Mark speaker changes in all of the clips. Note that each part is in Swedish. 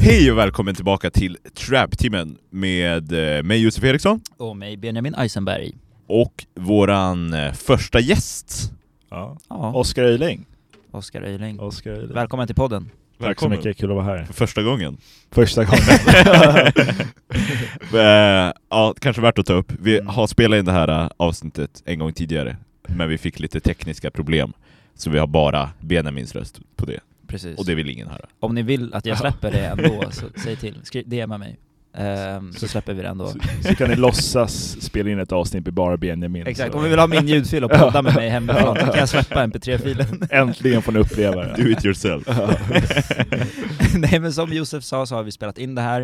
Speaker 1: Hej och välkommen tillbaka till Trap-teamen med eh, mig Josef Eriksson
Speaker 2: Och mig, Benjamin Eisenberg.
Speaker 1: och våran eh, första gäst.
Speaker 3: Ja.
Speaker 2: Ja,
Speaker 3: Oskar Öjling.
Speaker 2: Oskar Öjling.
Speaker 3: Oskar Öjling.
Speaker 2: Välkommen till podden.
Speaker 3: Tack så mycket, kul att vara här.
Speaker 1: För första gången.
Speaker 3: Första gången.
Speaker 1: Eh, ja, kanske värt att ta upp. Vi
Speaker 3: Mm.
Speaker 1: har spelat in det här eh, avsnittet en gång tidigare, men vi fick lite tekniska problem. Så vi har bara Benjamins röst på det,
Speaker 2: Precis.
Speaker 1: och det vill ingen höra.
Speaker 2: Om ni vill att jag släpper det ändå, så säg till. Skriv, DMa mig. Ehm, så släpper vi det ändå.
Speaker 3: så, så kan ni låtsas spela in ett avsnitt med bara Benjamin.
Speaker 2: Exakt,
Speaker 3: så.
Speaker 2: om vi vill ha min ljudfil och podda med mig hemifrån, så kan jag släppa mp3-filen.
Speaker 3: Äntligen får ni uppleva det.
Speaker 1: Do it yourself.
Speaker 2: Nej men som Josef sa så har vi spelat in det här,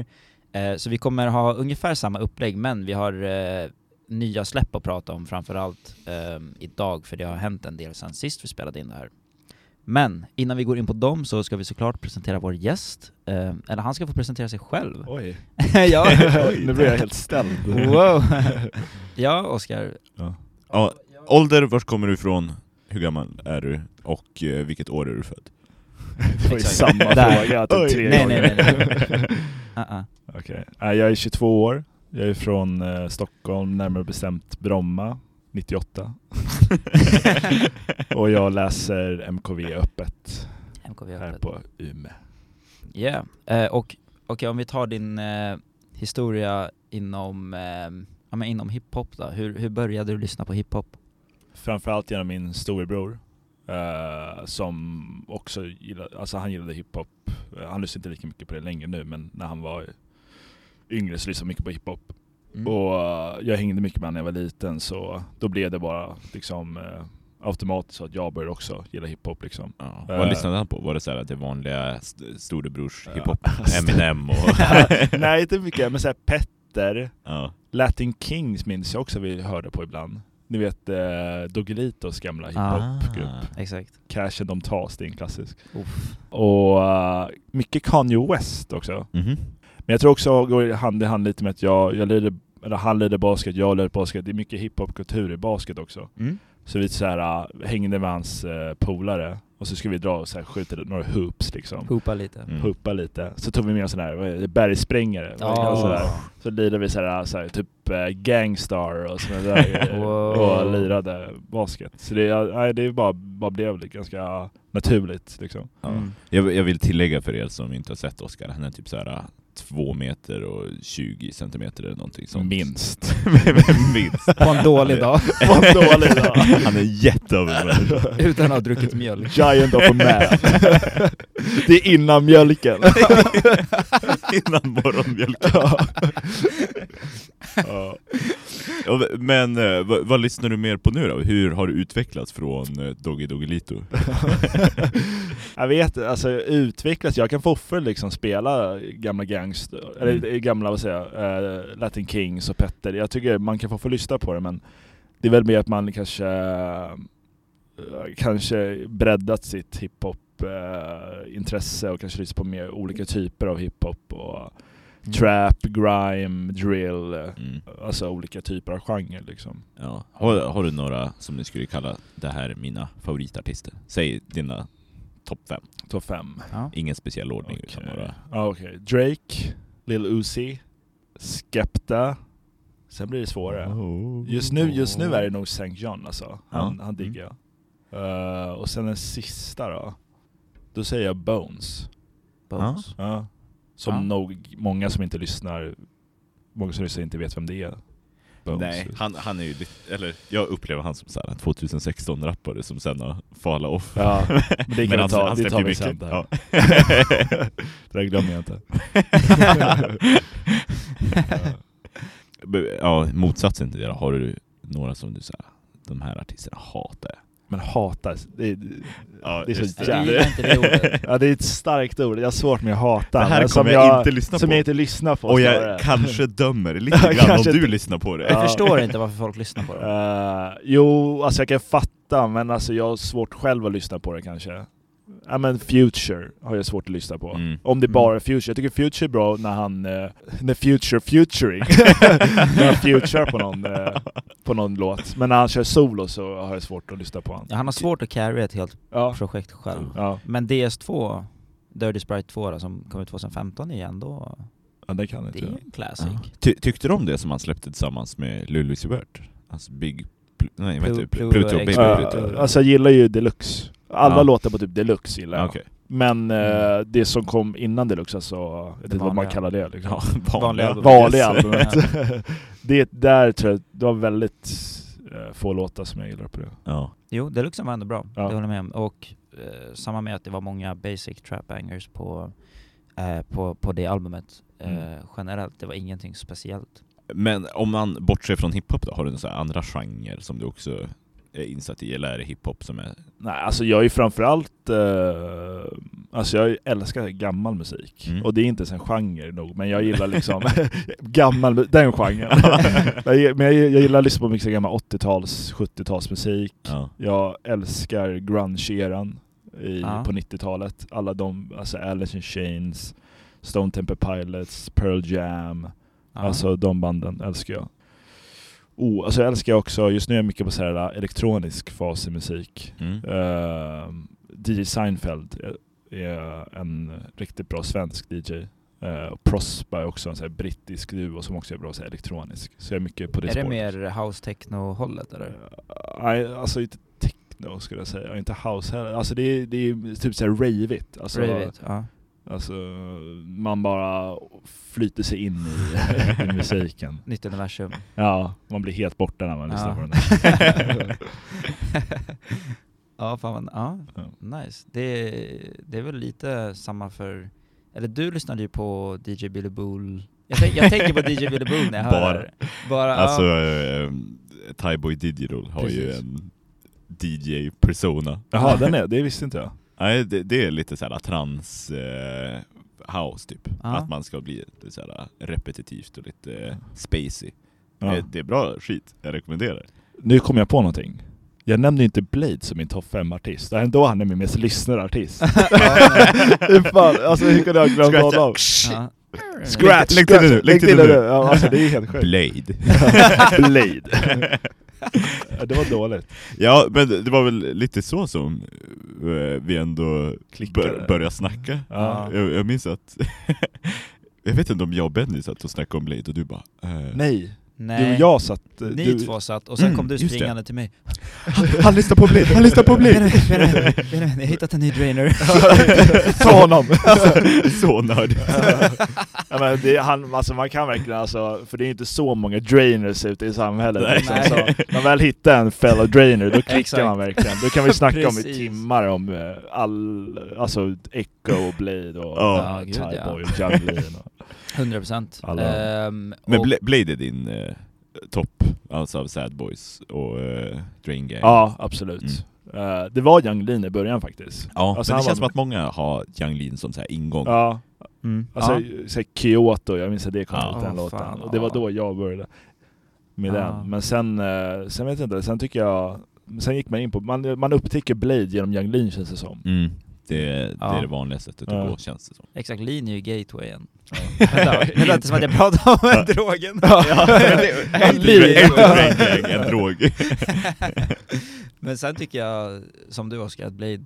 Speaker 2: eh, så vi kommer ha ungefär samma upplägg men vi har eh, nya släpp att prata om framförallt eh, idag för det har hänt en del sen sist vi spelade in det här. Men innan vi går in på dem så ska vi såklart presentera vår gäst, eh, eller han ska få presentera sig själv.
Speaker 3: Oj,
Speaker 2: ja,
Speaker 3: nu blir jag helt ställd.
Speaker 2: wow. ja Oskar,
Speaker 1: Ja, ålder, var kommer du ifrån? Hur gammal är du? Och eh, vilket år är du född?
Speaker 3: Det var ju
Speaker 2: Exakt.
Speaker 3: samma
Speaker 2: Där.
Speaker 3: fråga typ
Speaker 1: Oj.
Speaker 3: tre
Speaker 2: nej nej
Speaker 3: gånger.
Speaker 2: nej. nej. Uh-uh.
Speaker 3: Okej. Nej, Jag är 22 år, jag är från eh, Stockholm, närmare bestämt Bromma, 98. Och jag läser MKV öppet
Speaker 2: MKV
Speaker 3: här
Speaker 2: öppet.
Speaker 3: på Ume.
Speaker 2: Ja, eh, och okej om vi tar din eh, historia inom, eh, ja, men inom hiphop då. Hur, hur började du lyssna på hiphop?
Speaker 3: Framförallt genom min storebror. eh, som också gillade, alltså han gillade hiphop. Eh, Han lyssnar inte lika mycket på det längre nu men när han var yngre så lyssnade han mycket på hiphop.
Speaker 2: Mm.
Speaker 3: Och eh, jag hängde mycket med honom när jag var liten så då blev det bara liksom eh, automatiskt så att jag började också gilla hiphop liksom.
Speaker 1: Ja.
Speaker 3: Eh.
Speaker 1: Vad lyssnade han på? Var det så här det vanliga st- storebrors
Speaker 3: Ja.
Speaker 1: Eh, hiphop? Eminem och...
Speaker 3: Nej inte mycket men såhär Petter,
Speaker 1: ja.
Speaker 3: Latin Kings minns jag också vi hörde på ibland. Ni vet eh, Doggelitos gamla hiphopgrupp.
Speaker 1: Ah.
Speaker 2: Exakt.
Speaker 3: Cashen de tas, det är en klassisk.
Speaker 2: Uff.
Speaker 3: Och eh, mycket Kanye West också.
Speaker 1: Mhm.
Speaker 3: Men jag tror också går hand i hand lite med att jag, jag lider, eller han lider basket, jag lider basket. Det är mycket hiphopkultur i basket också.
Speaker 2: Mm.
Speaker 3: Så vi så här, äh, hängde med hans eh, polare och så skulle vi dra och så här, skjuta några hoops liksom.
Speaker 2: Hoopa lite.
Speaker 1: Mm.
Speaker 3: Hoopa lite. Så tog vi med en sån här vad är det, bergsprängare.
Speaker 2: Ja.
Speaker 3: Och Så, där.
Speaker 2: Mm.
Speaker 3: så lirade vi så här, så här, typ eh, Gangstar och sådana där grejer.
Speaker 2: Wow.
Speaker 3: Och lirade basket. Så det, ja, nej, det bara, bara blev det ganska naturligt liksom.
Speaker 1: Ja.
Speaker 2: Mm.
Speaker 1: Jag, jag vill tillägga för er som inte har sett Oscar, han är typ så här två meter och 20 centimeter eller någonting sånt.
Speaker 3: Minst.
Speaker 1: Minst.
Speaker 2: På en dålig dag,
Speaker 3: Vad dålig dag.
Speaker 1: Han är jätteövervärd.
Speaker 2: utan att ha druckit mjölk.
Speaker 3: Giant of a man. Det är innan mjölken.
Speaker 1: Innan morgonmjölken.
Speaker 3: Ja.
Speaker 1: Ja, Men eh, vad, vad lyssnar du mer på nu då? Hur har du utvecklats från eh, Doggy Doggelito?
Speaker 3: jag vet alltså utvecklas, jag kan fortfarande liksom spela gamla gangster, eller
Speaker 1: Mm.
Speaker 3: gamla vad säger jag, eh, Latin Kings och Petter. Jag tycker man kan få lyssna på det men det är väl mer att man kanske eh, kanske breddat sitt hiphop eh, intresse och kanske lyssnat på mer olika typer av hiphop och Mm. trap, grime, drill, eh,
Speaker 1: Mm.
Speaker 3: alltså olika typer av genre liksom.
Speaker 1: Ja. Har, har du några som ni skulle kalla det här är mina favoritartister? Säg dina topp fem.
Speaker 3: Topp fem.
Speaker 2: Ja.
Speaker 1: Ingen speciell ordning utan
Speaker 3: Okej.
Speaker 1: bara...
Speaker 3: Ja, okej. Drake, Lil Uzi, Skepta. Sen blir det svårare.
Speaker 1: Oh.
Speaker 3: Just nu, just nu är det nog St. John alltså. Han,
Speaker 1: Ja. Mm.
Speaker 3: han diggar jag. Eh, och sen den sista då. Då säger jag Bones.
Speaker 2: Bones.
Speaker 3: Ja. som
Speaker 2: Ja.
Speaker 3: nog många som inte lyssnar, många som lyssnar inte vet vem det är. Bones.
Speaker 1: Nej, han, han är ju lite, eller jag upplever han som så här en 2016-rappare som sen har falla off.
Speaker 3: Ja, men det kan vi
Speaker 1: han-
Speaker 3: ta,
Speaker 1: han
Speaker 3: det tar
Speaker 1: släppte
Speaker 3: vi
Speaker 1: ju
Speaker 3: sen.
Speaker 1: mycket.
Speaker 3: Ja. det där glömmer jag inte.
Speaker 1: B- Ja, motsatsen till det då, har du några som du säger de här artisterna hatar jag.
Speaker 3: Men hatar, det,
Speaker 1: Ja,
Speaker 3: Det är så
Speaker 1: just
Speaker 2: Jag gillar inte det ordet.
Speaker 3: ja, det är ett starkt ord, jag har svårt med att hata.
Speaker 1: Det här
Speaker 3: men som
Speaker 1: kommer jag, inte lyssna
Speaker 3: som
Speaker 1: på.
Speaker 3: jag inte lyssnar på.
Speaker 1: och jag
Speaker 3: snarare.
Speaker 1: kanske dömer lite
Speaker 3: Ja,
Speaker 1: grann om
Speaker 3: kanske
Speaker 1: du
Speaker 3: inte.
Speaker 1: lyssnar på det.
Speaker 2: Jag
Speaker 3: Ja.
Speaker 2: förstår inte varför folk lyssnar på dem.
Speaker 3: Eh, jo, alltså jag kan fatta, men alltså jag har svårt själv att lyssna på det kanske. Ja men Future har jag svårt att lyssna på.
Speaker 1: Mm.
Speaker 3: Om det
Speaker 2: Mm.
Speaker 3: bara är Future. Jag tycker Future är bra när han... eh, när Future futuring. när han futurar på någon, eh, på någon låt. Men när han kör solo så har jag svårt att lyssna på honom.
Speaker 2: Han har svårt att carry ett helt
Speaker 3: Ja.
Speaker 2: projekt själv.
Speaker 3: ja.
Speaker 2: Men DS2 Dirty Sprite 2 då, som kom ut 2015 igen då.
Speaker 3: Ja, det kan inte
Speaker 2: Det är
Speaker 3: jag.
Speaker 2: en classic.
Speaker 1: Ty tyckte du om det som han släppte tillsammans med Lulu Sibert? Alltså Big... Pl- nej, vad heter det?
Speaker 2: Plu-
Speaker 1: Pl- Pluto,
Speaker 2: Pluto
Speaker 1: Baby
Speaker 2: Express.
Speaker 1: Pluto.
Speaker 2: Pluto.
Speaker 3: Uh, alltså jag gillar ju Deluxe. Alla
Speaker 1: Ja.
Speaker 3: låtar på typ Deluxe gillar jag.
Speaker 1: Okej.
Speaker 3: Men eh,
Speaker 2: Mm.
Speaker 3: det som kom innan Deluxe, alltså, jag vet inte vad man
Speaker 2: vanliga.
Speaker 3: kallar det. Liksom.
Speaker 1: Ja,
Speaker 2: Vanliga
Speaker 1: vanliga.
Speaker 2: album.
Speaker 3: Vanliga
Speaker 2: Yes.
Speaker 3: albumet. det, där tror jag, det var väldigt eh, få låtar som jag gillar på det.
Speaker 1: Ja.
Speaker 2: Jo, Deluxen var ändå bra,
Speaker 3: Ja.
Speaker 2: det håller jag med om. Och eh, samma med att det var många basic trap bangers på, eh, på, på det albumet. Eh,
Speaker 3: Mm.
Speaker 2: generellt, det var ingenting speciellt.
Speaker 1: Men om man bortser från hiphop då, har du några andra genrer som du också är insatt i, eller är det hiphop som är...
Speaker 3: Nej, alltså jag är ju framförallt... Eh, alltså jag älskar gammal musik.
Speaker 1: Mm.
Speaker 3: Och det är inte ens en genre nog, men jag gillar liksom... gammal, mu- den genren. Nej, men jag, jag gillar att lyssna på mycket gammal 80-tals, 70-talsmusik.
Speaker 1: Ja.
Speaker 3: Jag älskar grunge-eran i-
Speaker 2: Ja.
Speaker 3: på 90-talet. Alla de, alltså Alice in Chains, Stone Temple Pilots, Pearl Jam.
Speaker 2: Ja.
Speaker 3: Alltså de banden älskar jag. Oh, alltså jag älskar också, just nu är jag mycket på så här äh, elektronisk fas i musik.
Speaker 1: Mm.
Speaker 3: Eh, DJ Seinfeld är- är en riktigt bra svensk DJ. Eh, och Prosper är också en så här brittisk duo som också är bra så här elektronisk. Så jag är mycket på det
Speaker 2: är det
Speaker 3: spåret.
Speaker 2: mer house techno-hållet eller?
Speaker 3: Eh, Nej, alltså inte techno skulle jag säga. Inte house heller. Alltså det är, det är typ såhär raveigt. Alltså,
Speaker 2: Rave-it, ja.
Speaker 3: alltså man bara flyter sig in i, i musiken.
Speaker 2: Nytt universum.
Speaker 3: Ja, man blir helt borta när man lyssnar
Speaker 2: Ja.
Speaker 3: på den. här.
Speaker 2: ja, fan vad, ja, nice. Det, det är väl lite samma för, eller du lyssnade ju på DJ Billy Bull. Jag, tänk, jag tänker på DJ Billy Bull när jag hör
Speaker 1: Bara.
Speaker 2: det här. Bara,
Speaker 1: Alltså,
Speaker 2: ja.
Speaker 1: eh, Tyboy Digital har ju
Speaker 2: Precis.
Speaker 1: en DJ-persona.
Speaker 3: Jaha, den är, det visste inte jag.
Speaker 1: Nej, det, det är lite såhär trans eh, house typ.
Speaker 2: Ja.
Speaker 1: Att man ska bli lite såhär repetitivt och lite eh, spacey. Eh,
Speaker 3: Ja.
Speaker 1: Det, det är bra skit, jag rekommenderar.
Speaker 3: Nu kom jag på någonting. Jag nämnde ju inte Blade som min topp 5-artist. Ändå han är min mest lyssnade artist. hur fan, alltså hur kunde jag ha glömt
Speaker 1: Scratcha.
Speaker 3: honom?
Speaker 2: Ja.
Speaker 1: Lägg- lägg till det nu, lägg till det nu.
Speaker 3: Ja, alltså det är helt sjukt.
Speaker 1: Blade.
Speaker 3: Blade. Ja, det var dåligt.
Speaker 1: Ja, men det var väl lite så som eh, vi ändå
Speaker 3: Klickade. Mm.
Speaker 1: bör, började snacka.
Speaker 3: Ja.
Speaker 1: Jag, jag minns att, jag vet inte om jag och Benny satt och snackade om Blade och du bara eh,
Speaker 3: Nej,
Speaker 2: Nej.
Speaker 3: du och jag satt... eh,
Speaker 2: Ni
Speaker 3: du,
Speaker 2: två satt, och sen
Speaker 1: Mm,
Speaker 2: kom du
Speaker 1: just det.
Speaker 2: springande till mig
Speaker 1: Han lyssnar på Blade, han lyssnar på Blade!
Speaker 2: Benjamin, Benjamin, Benjamin, jag har hittat en ny drainer
Speaker 3: Ta honom!
Speaker 1: så nörd.
Speaker 3: ja, men det, han, alltså man kan verkligen alltså, för det är ju inte så många drainers ute i samhället.
Speaker 1: Nej.
Speaker 3: Liksom,
Speaker 2: Nej.
Speaker 3: så när man väl hittar en fellow drainer, då klickar
Speaker 2: Exakt.
Speaker 3: man verkligen. Då kan vi snacka om i
Speaker 2: Precis.
Speaker 3: timmar om eh, all, alltså Echo och Blade och
Speaker 1: Ja.
Speaker 2: Ja,
Speaker 3: oh.
Speaker 2: gud, ja.
Speaker 3: Tyboy och Junglin. Och,
Speaker 2: 100%
Speaker 3: Alla.
Speaker 2: Ehm,
Speaker 1: Men
Speaker 2: och-
Speaker 1: Bla- Blade är din eh, topp, alltså av Sad Boys och eh, Drain Gang.
Speaker 3: ja, absolut. Eh, det var Junglin i början faktiskt.
Speaker 1: Ja,
Speaker 3: Alltså,
Speaker 1: men
Speaker 3: han
Speaker 1: det känns
Speaker 3: var-
Speaker 1: som att många har Yang Lin som så här ingång.
Speaker 3: Ja,
Speaker 2: mm.
Speaker 3: alltså
Speaker 2: ja.
Speaker 3: så här Kyoto, jag minns att det kom
Speaker 1: Ja.
Speaker 3: ut den
Speaker 2: Åh,
Speaker 3: låten.
Speaker 2: fan,
Speaker 3: Och det var
Speaker 2: ja.
Speaker 3: då jag började med
Speaker 2: Ja.
Speaker 3: den. Men sen, eh, sen vet jag inte, sen tycker jag, sen gick man in på, man, man upptäcker Blade genom Junglin känns det som.
Speaker 1: Mm. Det, det
Speaker 2: Ja.
Speaker 1: är det vanliga sättet att
Speaker 3: Ja.
Speaker 1: gå känns det som.
Speaker 2: Exakt, Lean är ju gatewayen Vänta, nu lät det som att jag pratade om drogen
Speaker 1: En
Speaker 2: Lean.
Speaker 1: Drain Gang, en drog.
Speaker 2: Men sen tycker jag, som du Oskar, att Blade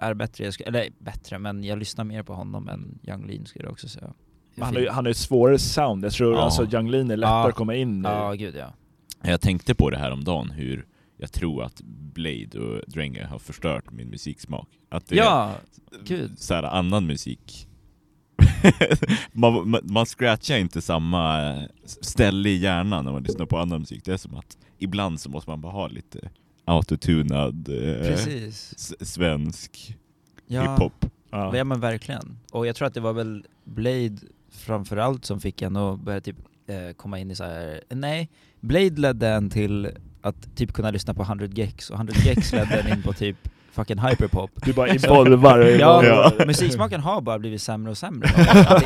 Speaker 2: är bättre, jag skulle, eller bättre, men jag lyssnar mer på honom än Young Lean skulle jag också säga
Speaker 3: Men han har ju- han har ju ett svårare sound, jag tror
Speaker 1: Ja.
Speaker 3: alltså Junglin är lättare
Speaker 2: Ja.
Speaker 3: att komma in i.
Speaker 2: Ja, gud ja
Speaker 1: Jag tänkte på det här om dagen hur jag tror att Blade och Dränge har förstört min musiksmak. Att det
Speaker 2: Ja,
Speaker 1: är
Speaker 2: gud.
Speaker 1: så här annan musik. man, man, man scratchar inte samma eh, ställe i hjärnan när man lyssnar på annan musik. Det är som att ibland så måste man bara ha lite autotunad eh,
Speaker 2: precis
Speaker 1: s- svensk
Speaker 2: ja.
Speaker 1: hiphop.
Speaker 3: Ja.
Speaker 2: Ja men verkligen. Och jag tror att det var väl Blade framförallt som fick en att börja typ eh, komma in i så här. nej, Blade ledde en till att typ kunna lyssna på 100 Gex och 100 Gex ledde en in på typ fucking hyperpop.
Speaker 3: Du bara evolvar och
Speaker 2: Ja,
Speaker 3: evolvar.
Speaker 1: Ja.
Speaker 2: musiksmaken har bara blivit sämre och sämre.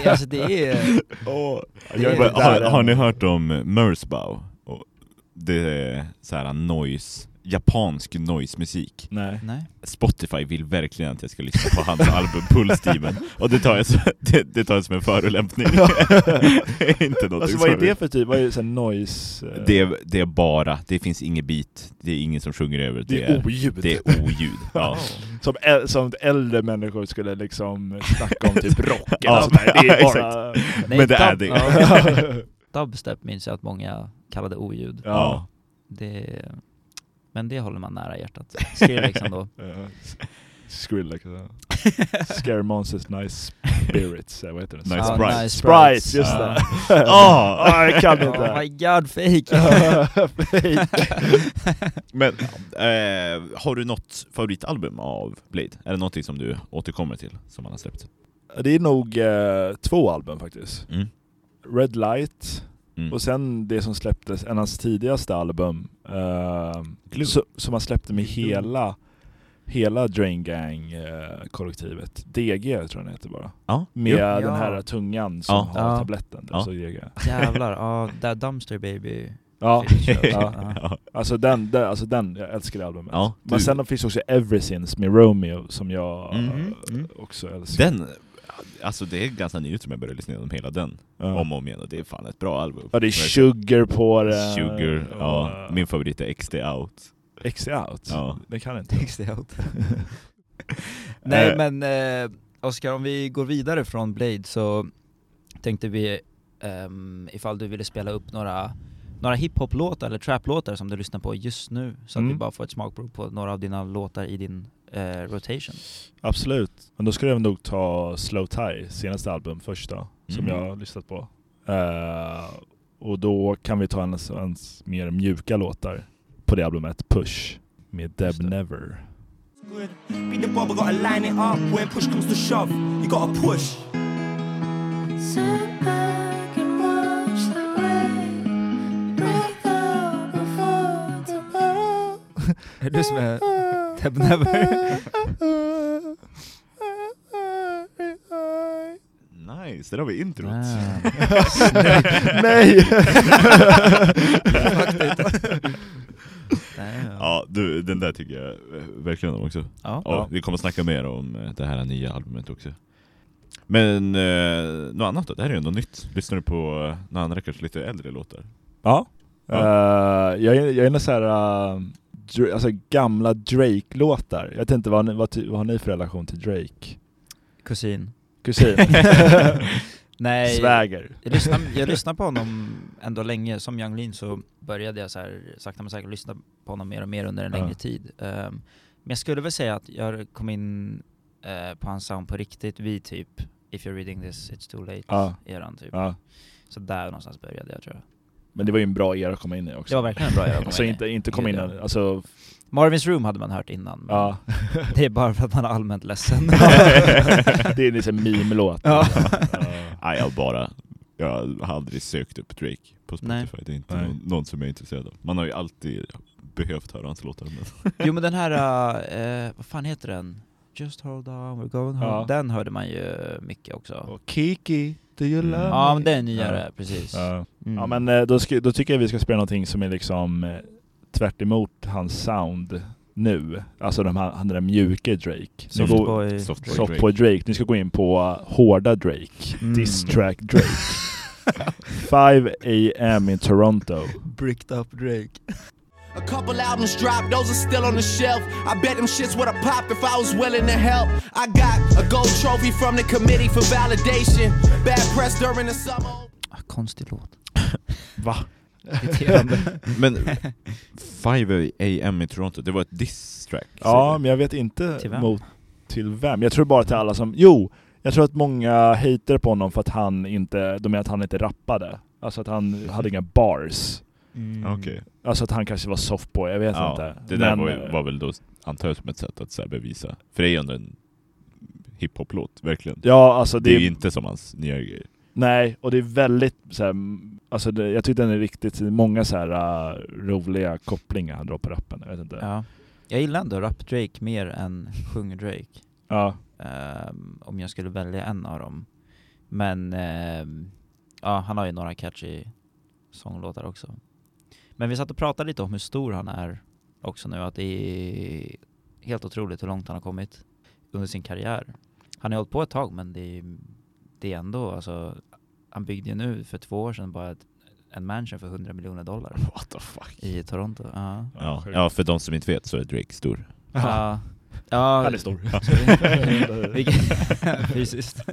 Speaker 2: Det, alltså det är...
Speaker 3: Jag är
Speaker 1: Har,
Speaker 3: inte där
Speaker 1: har
Speaker 3: än.
Speaker 1: ni hört om Mörsbau? Och Det är så här noise japansk noise-musik.
Speaker 3: Nej.
Speaker 2: Nej.
Speaker 1: Spotify vill verkligen att jag ska lyssna på hans album Pulsteamen, och det tar jag som, det, det tar jag som en förolämpning. Inte något
Speaker 3: Alltså vad är det för typ? Vad är det sån noise? eh,
Speaker 1: Det är, det är bara, det finns inget beat, det är ingen som sjunger över,
Speaker 3: det är oljud.
Speaker 1: det är oljud.
Speaker 2: Oh.
Speaker 1: Ja.
Speaker 3: Som, äl- som äldre människor skulle liksom snacka om typ rock eller
Speaker 1: Ja,
Speaker 3: sånt där. Det är
Speaker 1: ja,
Speaker 3: bara...
Speaker 2: Nej,
Speaker 1: Men det är
Speaker 2: dub-
Speaker 1: det.
Speaker 2: ja. Dubstep minns jag att många kallade oljud.
Speaker 1: Ja.
Speaker 2: Det, men det håller man nära hjärtat. liksom Skrillex ändå.
Speaker 3: Ja. Skrillex. ja. Scare Monsters Nice Spirits, eh, vad heter det?
Speaker 1: Nice
Speaker 2: Ja,
Speaker 1: Sprites.
Speaker 2: Ah, nice
Speaker 3: Sprites, just
Speaker 1: Ja.
Speaker 3: det.
Speaker 1: Ah.
Speaker 3: Ah, jag kan inte.
Speaker 2: Oh my god, fake!
Speaker 1: Men eh, har du något favoritalbum av Blade? Är det någonting som du återkommer till, som han har släppt?
Speaker 3: Det är nog eh, två album faktiskt.
Speaker 1: Mm.
Speaker 3: Red Light
Speaker 1: Mm.
Speaker 3: och sen det som släpptes, en av hans tidigaste album, eh,
Speaker 1: Glue.
Speaker 3: so- som han släppte med
Speaker 1: Glue.
Speaker 3: hela, hela Drain eh, Gang-kollektivet. DG tror jag den heter bara.
Speaker 1: Ja.
Speaker 3: Med
Speaker 1: Jo.
Speaker 3: den
Speaker 2: Ja.
Speaker 3: här tungan som
Speaker 1: Ja.
Speaker 3: har
Speaker 2: Ja.
Speaker 3: tabletten.
Speaker 1: Ja.
Speaker 3: Så DG.
Speaker 2: Jävlar, ja, där Dumpster Baby
Speaker 3: Ja,
Speaker 2: featured.
Speaker 3: Ja.
Speaker 1: Ja.
Speaker 3: alltså den, den, alltså den, jag älskar det albumet.
Speaker 1: Ja,
Speaker 3: Men
Speaker 1: du.
Speaker 3: sen finns också Ever Since med Romeo som jag
Speaker 1: Mhm.
Speaker 3: eh, också älskar.
Speaker 1: Den, alltså det är ganska nytt som jag började lyssna igenom hela den,
Speaker 3: Ja.
Speaker 1: om och om igen, och det är fan ett bra album.
Speaker 3: Ja det är Sugar på det.
Speaker 1: Sugar, ja.
Speaker 3: och-
Speaker 1: Min favorit är XD Out.
Speaker 3: XC Out?
Speaker 1: Ja.
Speaker 3: Det kan jag inte.
Speaker 2: Takes it out. Nej
Speaker 3: Eh.
Speaker 2: men eh, Oskar, om vi går vidare från Blade så tänkte vi ehm, ifall du ville spela upp några, några hiphop-låtar eller trap-låtar som du lyssnar på just nu så att
Speaker 3: Mm.
Speaker 2: vi bara får ett smakprov på några av dina låtar i din eh, rotation.
Speaker 3: Absolut. Men då skulle jag nog ta Slow Tie, senaste album först då, som
Speaker 1: Mm.
Speaker 3: jag har lyssnat på. Eh, och då kan vi ta hans, hans mer mjuka låtar på det albumet, Push, med
Speaker 2: Just
Speaker 3: Deb
Speaker 2: det.
Speaker 3: Never.
Speaker 4: Good. Beat the bubble, gotta line it up. When push comes to shove, you gotta push.
Speaker 5: Sit back and watch the rain. Break out before the bell.
Speaker 2: Är du som är Deb Never?
Speaker 1: Nice, där har vi introt.
Speaker 3: Ah. Nej!
Speaker 1: Ja, du, den där tycker jag eh, verkligen om också.
Speaker 2: Ja.
Speaker 1: Ja,
Speaker 3: Ja.
Speaker 1: Vi kommer snacka mer om eh, det här nya albumet också. Men eh, något annat då? Det här är ju ändå nytt. Lyssnar du på eh, några andra, kanske lite äldre låtar?
Speaker 3: Ja. Eh, jag, är- jag är nog såhär, uh, dr- alltså gamla Drake-låtar. Jag vet inte, vad, ni- vad, ty- vad har ni för relation till Drake?
Speaker 2: Kusin.
Speaker 3: Kusin?
Speaker 2: Typ. Nej.
Speaker 3: Sväger?
Speaker 2: Jag lyssnade, jag lyssnade på honom ändå länge, som Yung Lean så började jag så här, sakta men säkert lyssna på honom mer och mer under en
Speaker 3: Ja.
Speaker 2: längre tid. Ehm, men jag skulle väl säga att jag kom in eh, på hans sound på riktigt vid typ If you're reading this it's too late
Speaker 3: Ja.
Speaker 2: eran typ.
Speaker 3: Ja.
Speaker 2: Så där någonstans började jag tror jag.
Speaker 3: Men det var ju en bra era att komma in i också.
Speaker 2: Det var verkligen en bra era att komma
Speaker 3: Alltså
Speaker 2: in i.
Speaker 3: inte, inte komma in
Speaker 2: Gud, ja.
Speaker 3: i- alltså,
Speaker 2: Marvins Room hade man hört innan, men
Speaker 3: ja.
Speaker 2: det är bara för att man är allmänt ledsen.
Speaker 3: det är en liksom meme-låt.
Speaker 2: Ja.
Speaker 1: Nej, jag bara... Jag har aldrig sökt upp Drake på
Speaker 2: Nej.
Speaker 1: Spotify. Det är inte
Speaker 3: Nej.
Speaker 1: någon, någon som jag är intresserad av. Man har ju alltid behövt höra hans låtar. Men...
Speaker 2: Jo men den här, eh, vad fan heter den? Just hold on, we're going home.
Speaker 3: Ja.
Speaker 2: Den hörde man ju mycket också.
Speaker 3: Och Kiki, do you love
Speaker 1: Mm.
Speaker 2: Ja
Speaker 3: me?
Speaker 2: men den är nyare, precis.
Speaker 3: Ja.
Speaker 2: Mm.
Speaker 3: Ja men eh, då, ska, då tycker jag vi ska spela någonting som är liksom eh, tvärt emot hans sound nu. Alltså de här, han den där mjuka Drake. Nu går-
Speaker 2: Softboy.
Speaker 1: Softboy
Speaker 3: Soft på Drake. Nu ska gå in på eh, hårda Drake.
Speaker 2: Mm.
Speaker 3: Diss track Drake. 5 AM in Toronto.
Speaker 2: Bricked up Drake.
Speaker 4: A couple albums dropped, those are still on the shelf. I bet them shits would have popped if I was willing to help. I got a gold trophy from the committee for validation. Bad press during the summer.
Speaker 2: Ah, konstig låt.
Speaker 3: Va?
Speaker 2: Irriterande.
Speaker 1: Men 5 AM i Toronto, det var ett diss-track?
Speaker 3: Ja, men jag vet inte
Speaker 2: Till vem?
Speaker 3: mot till vem. Jag tror bara till alla som... Jo! Jag tror att många hatar på honom för att han inte... De menar att han inte rappade. Alltså att han hade inga bars.
Speaker 2: Mm.
Speaker 1: Okej.
Speaker 3: Alltså att han kanske var softboy, jag vet
Speaker 1: Ja,
Speaker 3: inte.
Speaker 1: Det där
Speaker 3: Men,
Speaker 1: var, ju- var väl då, antar jag, som ett sätt att så här, bevisa. För det är ju ändå en hiphop-låt, verkligen.
Speaker 3: Ja, alltså
Speaker 1: Det är ju
Speaker 3: det...
Speaker 1: inte som hans nya grejer.
Speaker 3: Nej, och det är väldigt så här, Alltså det, jag tyckte den är riktigt... Många så här äh, roliga kopplingar han drar på rappen, jag vet inte.
Speaker 2: Ja. Jag gillar ändå rap-Drake mer än sjung-Drake.
Speaker 3: Ja.
Speaker 2: ehm, om jag skulle välja en av dem. Men ehm, ja, han har ju några catchy sånglåtar också. Men vi satt och pratade lite om hur stor han är också nu att det är helt otroligt hur långt han har kommit under sin karriär. Han har hållit på ett tag men det är, det är ändå alltså, han byggde ju nu för två år sedan bara ett, en mansion för 100 miljoner dollar
Speaker 3: What the fuck?
Speaker 2: i Toronto. Ja.
Speaker 1: Ja,
Speaker 3: sjukt.
Speaker 1: ja, för de som inte vet så är Drake stor.
Speaker 2: Ja. Ja.
Speaker 3: Han är stor.
Speaker 2: Vilken- Fysiskt.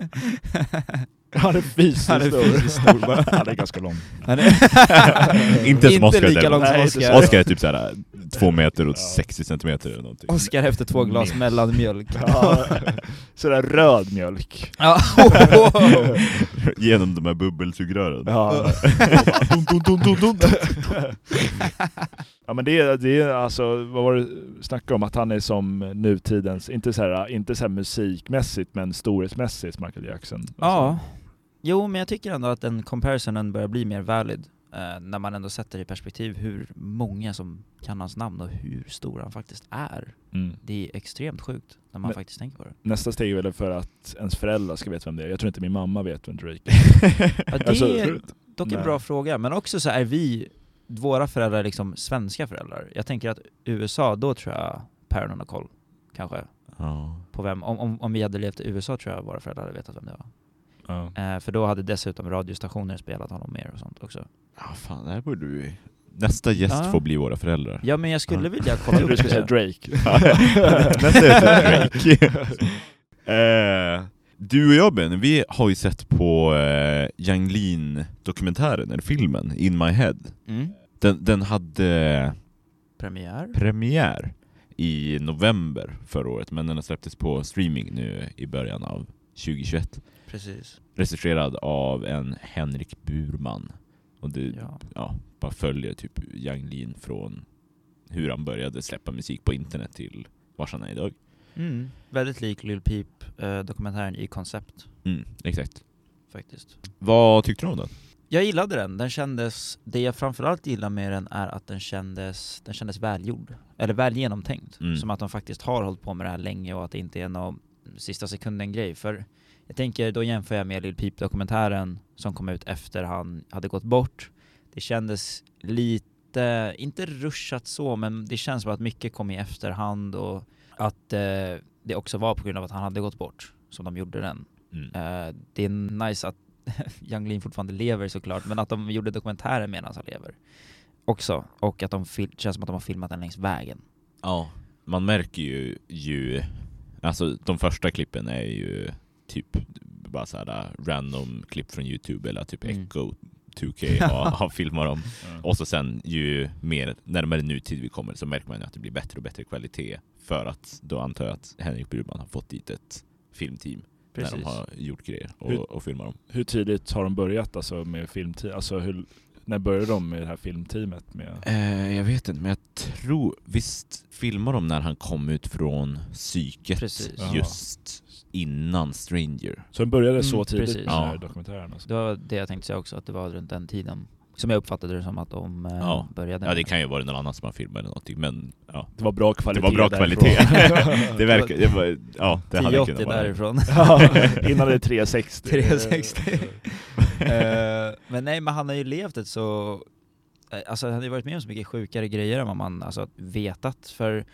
Speaker 3: Han är fysiskt
Speaker 2: Han är fysiskt stor bara.
Speaker 3: Han är ganska lång.
Speaker 2: Han är-
Speaker 1: Inte som Oscar
Speaker 2: lika lång som
Speaker 3: Nej, inte
Speaker 2: Oscar.
Speaker 3: så.
Speaker 1: Oscar är typ såhär två meter och
Speaker 3: Ja.
Speaker 1: 60 centimeter eller någonting.
Speaker 2: Oscar efter två glas
Speaker 3: Minst.
Speaker 2: mellanmjölk.
Speaker 3: Ja. Sådär röd mjölk.
Speaker 2: Ja.
Speaker 1: Genom de här bubbelsugrören.
Speaker 3: Ja. Dun, dun, dun, dun, dun. ja men det är, det är alltså, vad var det snackade om? Att han är som nutidens, inte så här, inte så här musikmässigt men storhetsmässigt Michael Jackson. Alltså,
Speaker 2: ja. Jo, men jag tycker ändå att den comparisonen börjar bli mer valid. Eh, när man ändå sätter i perspektiv hur många som kan hans namn och hur stor han faktiskt är.
Speaker 3: Mm.
Speaker 2: Det är extremt sjukt när man
Speaker 3: Men-
Speaker 2: faktiskt tänker på det.
Speaker 3: Nästa steg är väl för att ens föräldrar ska veta vem det är. Jag tror inte min mamma vet vem Drake är.
Speaker 2: Ja, det
Speaker 3: Alltså,
Speaker 2: är dock en
Speaker 3: nej.
Speaker 2: bra fråga, men också så är vi, våra föräldrar liksom svenska föräldrar. Jag tänker att USA, då tror jag päronen har koll, kanske.
Speaker 1: Ja.
Speaker 2: På vem, om, om, om vi hade levt i USA tror jag våra föräldrar hade vetat vem det var.
Speaker 3: Ja.
Speaker 2: Eh, för då hade dessutom radiostationer spelat honom mer och sånt också.
Speaker 1: Ja, fan, det här borde vi... Nästa gäst
Speaker 2: Ja.
Speaker 1: får bli våra föräldrar.
Speaker 2: Ja men jag skulle
Speaker 1: Ja.
Speaker 2: vilja
Speaker 3: Jag
Speaker 2: kolla
Speaker 3: trodde
Speaker 2: upp
Speaker 3: du skulle säga
Speaker 2: det.
Speaker 3: Drake.
Speaker 1: Nästa gäst är Drake. eh, du och jag Ben, vi har ju sett på eh, Yang Lean-dokumentären, eller filmen, In My Head.
Speaker 2: Mm.
Speaker 1: Den, den hade
Speaker 2: Premiär?
Speaker 1: premiär i november förra året, men den har släpptes på streaming nu i början av 2021.
Speaker 2: Precis.
Speaker 1: Regisserad av en Henrik Burman. Och det,
Speaker 2: Ja.
Speaker 1: ja, bara följer typ Yang Lin från hur han började släppa musik på internet till vars han är idag.
Speaker 2: Mm. Väldigt lik Lil Peep eh, dokumentären i koncept
Speaker 1: Mm, exakt.
Speaker 2: faktiskt.
Speaker 1: Vad tyckte du om den?
Speaker 2: Jag gillade den, den kändes, det jag framförallt gillar med den är att den kändes, den kändes välgjord. Eller väl genomtänkt.
Speaker 1: Mm.
Speaker 2: Som att de faktiskt har hållit på med det här länge och att det inte är någon sista sekunden grej. För jag tänker, då jämför jag med Lil Peep-dokumentären som kom ut efter han hade gått bort. Det kändes lite, inte rushat så, men det känns som att mycket kom i efterhand och att eh, det också var på grund av att han hade gått bort som de gjorde den.
Speaker 1: Mm.
Speaker 2: Eh, det är nice att Yung Lean fortfarande lever såklart, men att de gjorde dokumentären medan han lever också. Och att de fil- känns som att de har filmat den längs vägen.
Speaker 1: Ja, man märker ju, ju alltså de första klippen är ju typ bara så här random klipp från Youtube eller typ
Speaker 2: Mm.
Speaker 1: Echo 2K har, har filmat dem. Och så sen ju mer närmare nutid vi kommer så märker man ju att det blir bättre och bättre kvalitet för att då antar jag att Henrik Burman har fått dit ett filmteam där de har gjort grejer och,
Speaker 3: Hur-
Speaker 1: och filmat dem.
Speaker 3: Hur tidigt har de börjat alltså med filmteam? Alltså hur, när började de med det här filmteamet? Med,
Speaker 1: Eh, jag vet inte, men jag tror visst filmar de när han kom ut från psyket
Speaker 2: Precis.
Speaker 1: just innan Stranger.
Speaker 3: så de började
Speaker 2: Mm,
Speaker 3: så tidigt
Speaker 2: precis.
Speaker 3: med den här
Speaker 1: Ja.
Speaker 3: dokumentären? Alltså.
Speaker 2: Det var det jag tänkte säga också, att det var runt den tiden. Som jag uppfattade det som att de eh,
Speaker 1: Ja.
Speaker 2: började.
Speaker 1: Ja, det
Speaker 2: med.
Speaker 1: kan ju vara någon annan som har filmat eller någonting, men ja.
Speaker 3: Det var bra kvalitet.
Speaker 1: Det var bra
Speaker 3: därifrån.
Speaker 1: kvalitet. det verkar, det var, ja, det hade
Speaker 2: 1080
Speaker 1: kunnat vara.
Speaker 2: därifrån.
Speaker 3: Ja, Innan det är 360.
Speaker 2: 360. Eh, men nej, men han har ju levt ett så... eh, Alltså han har ju varit med om så mycket sjukare grejer än vad man alltså, vetat. För,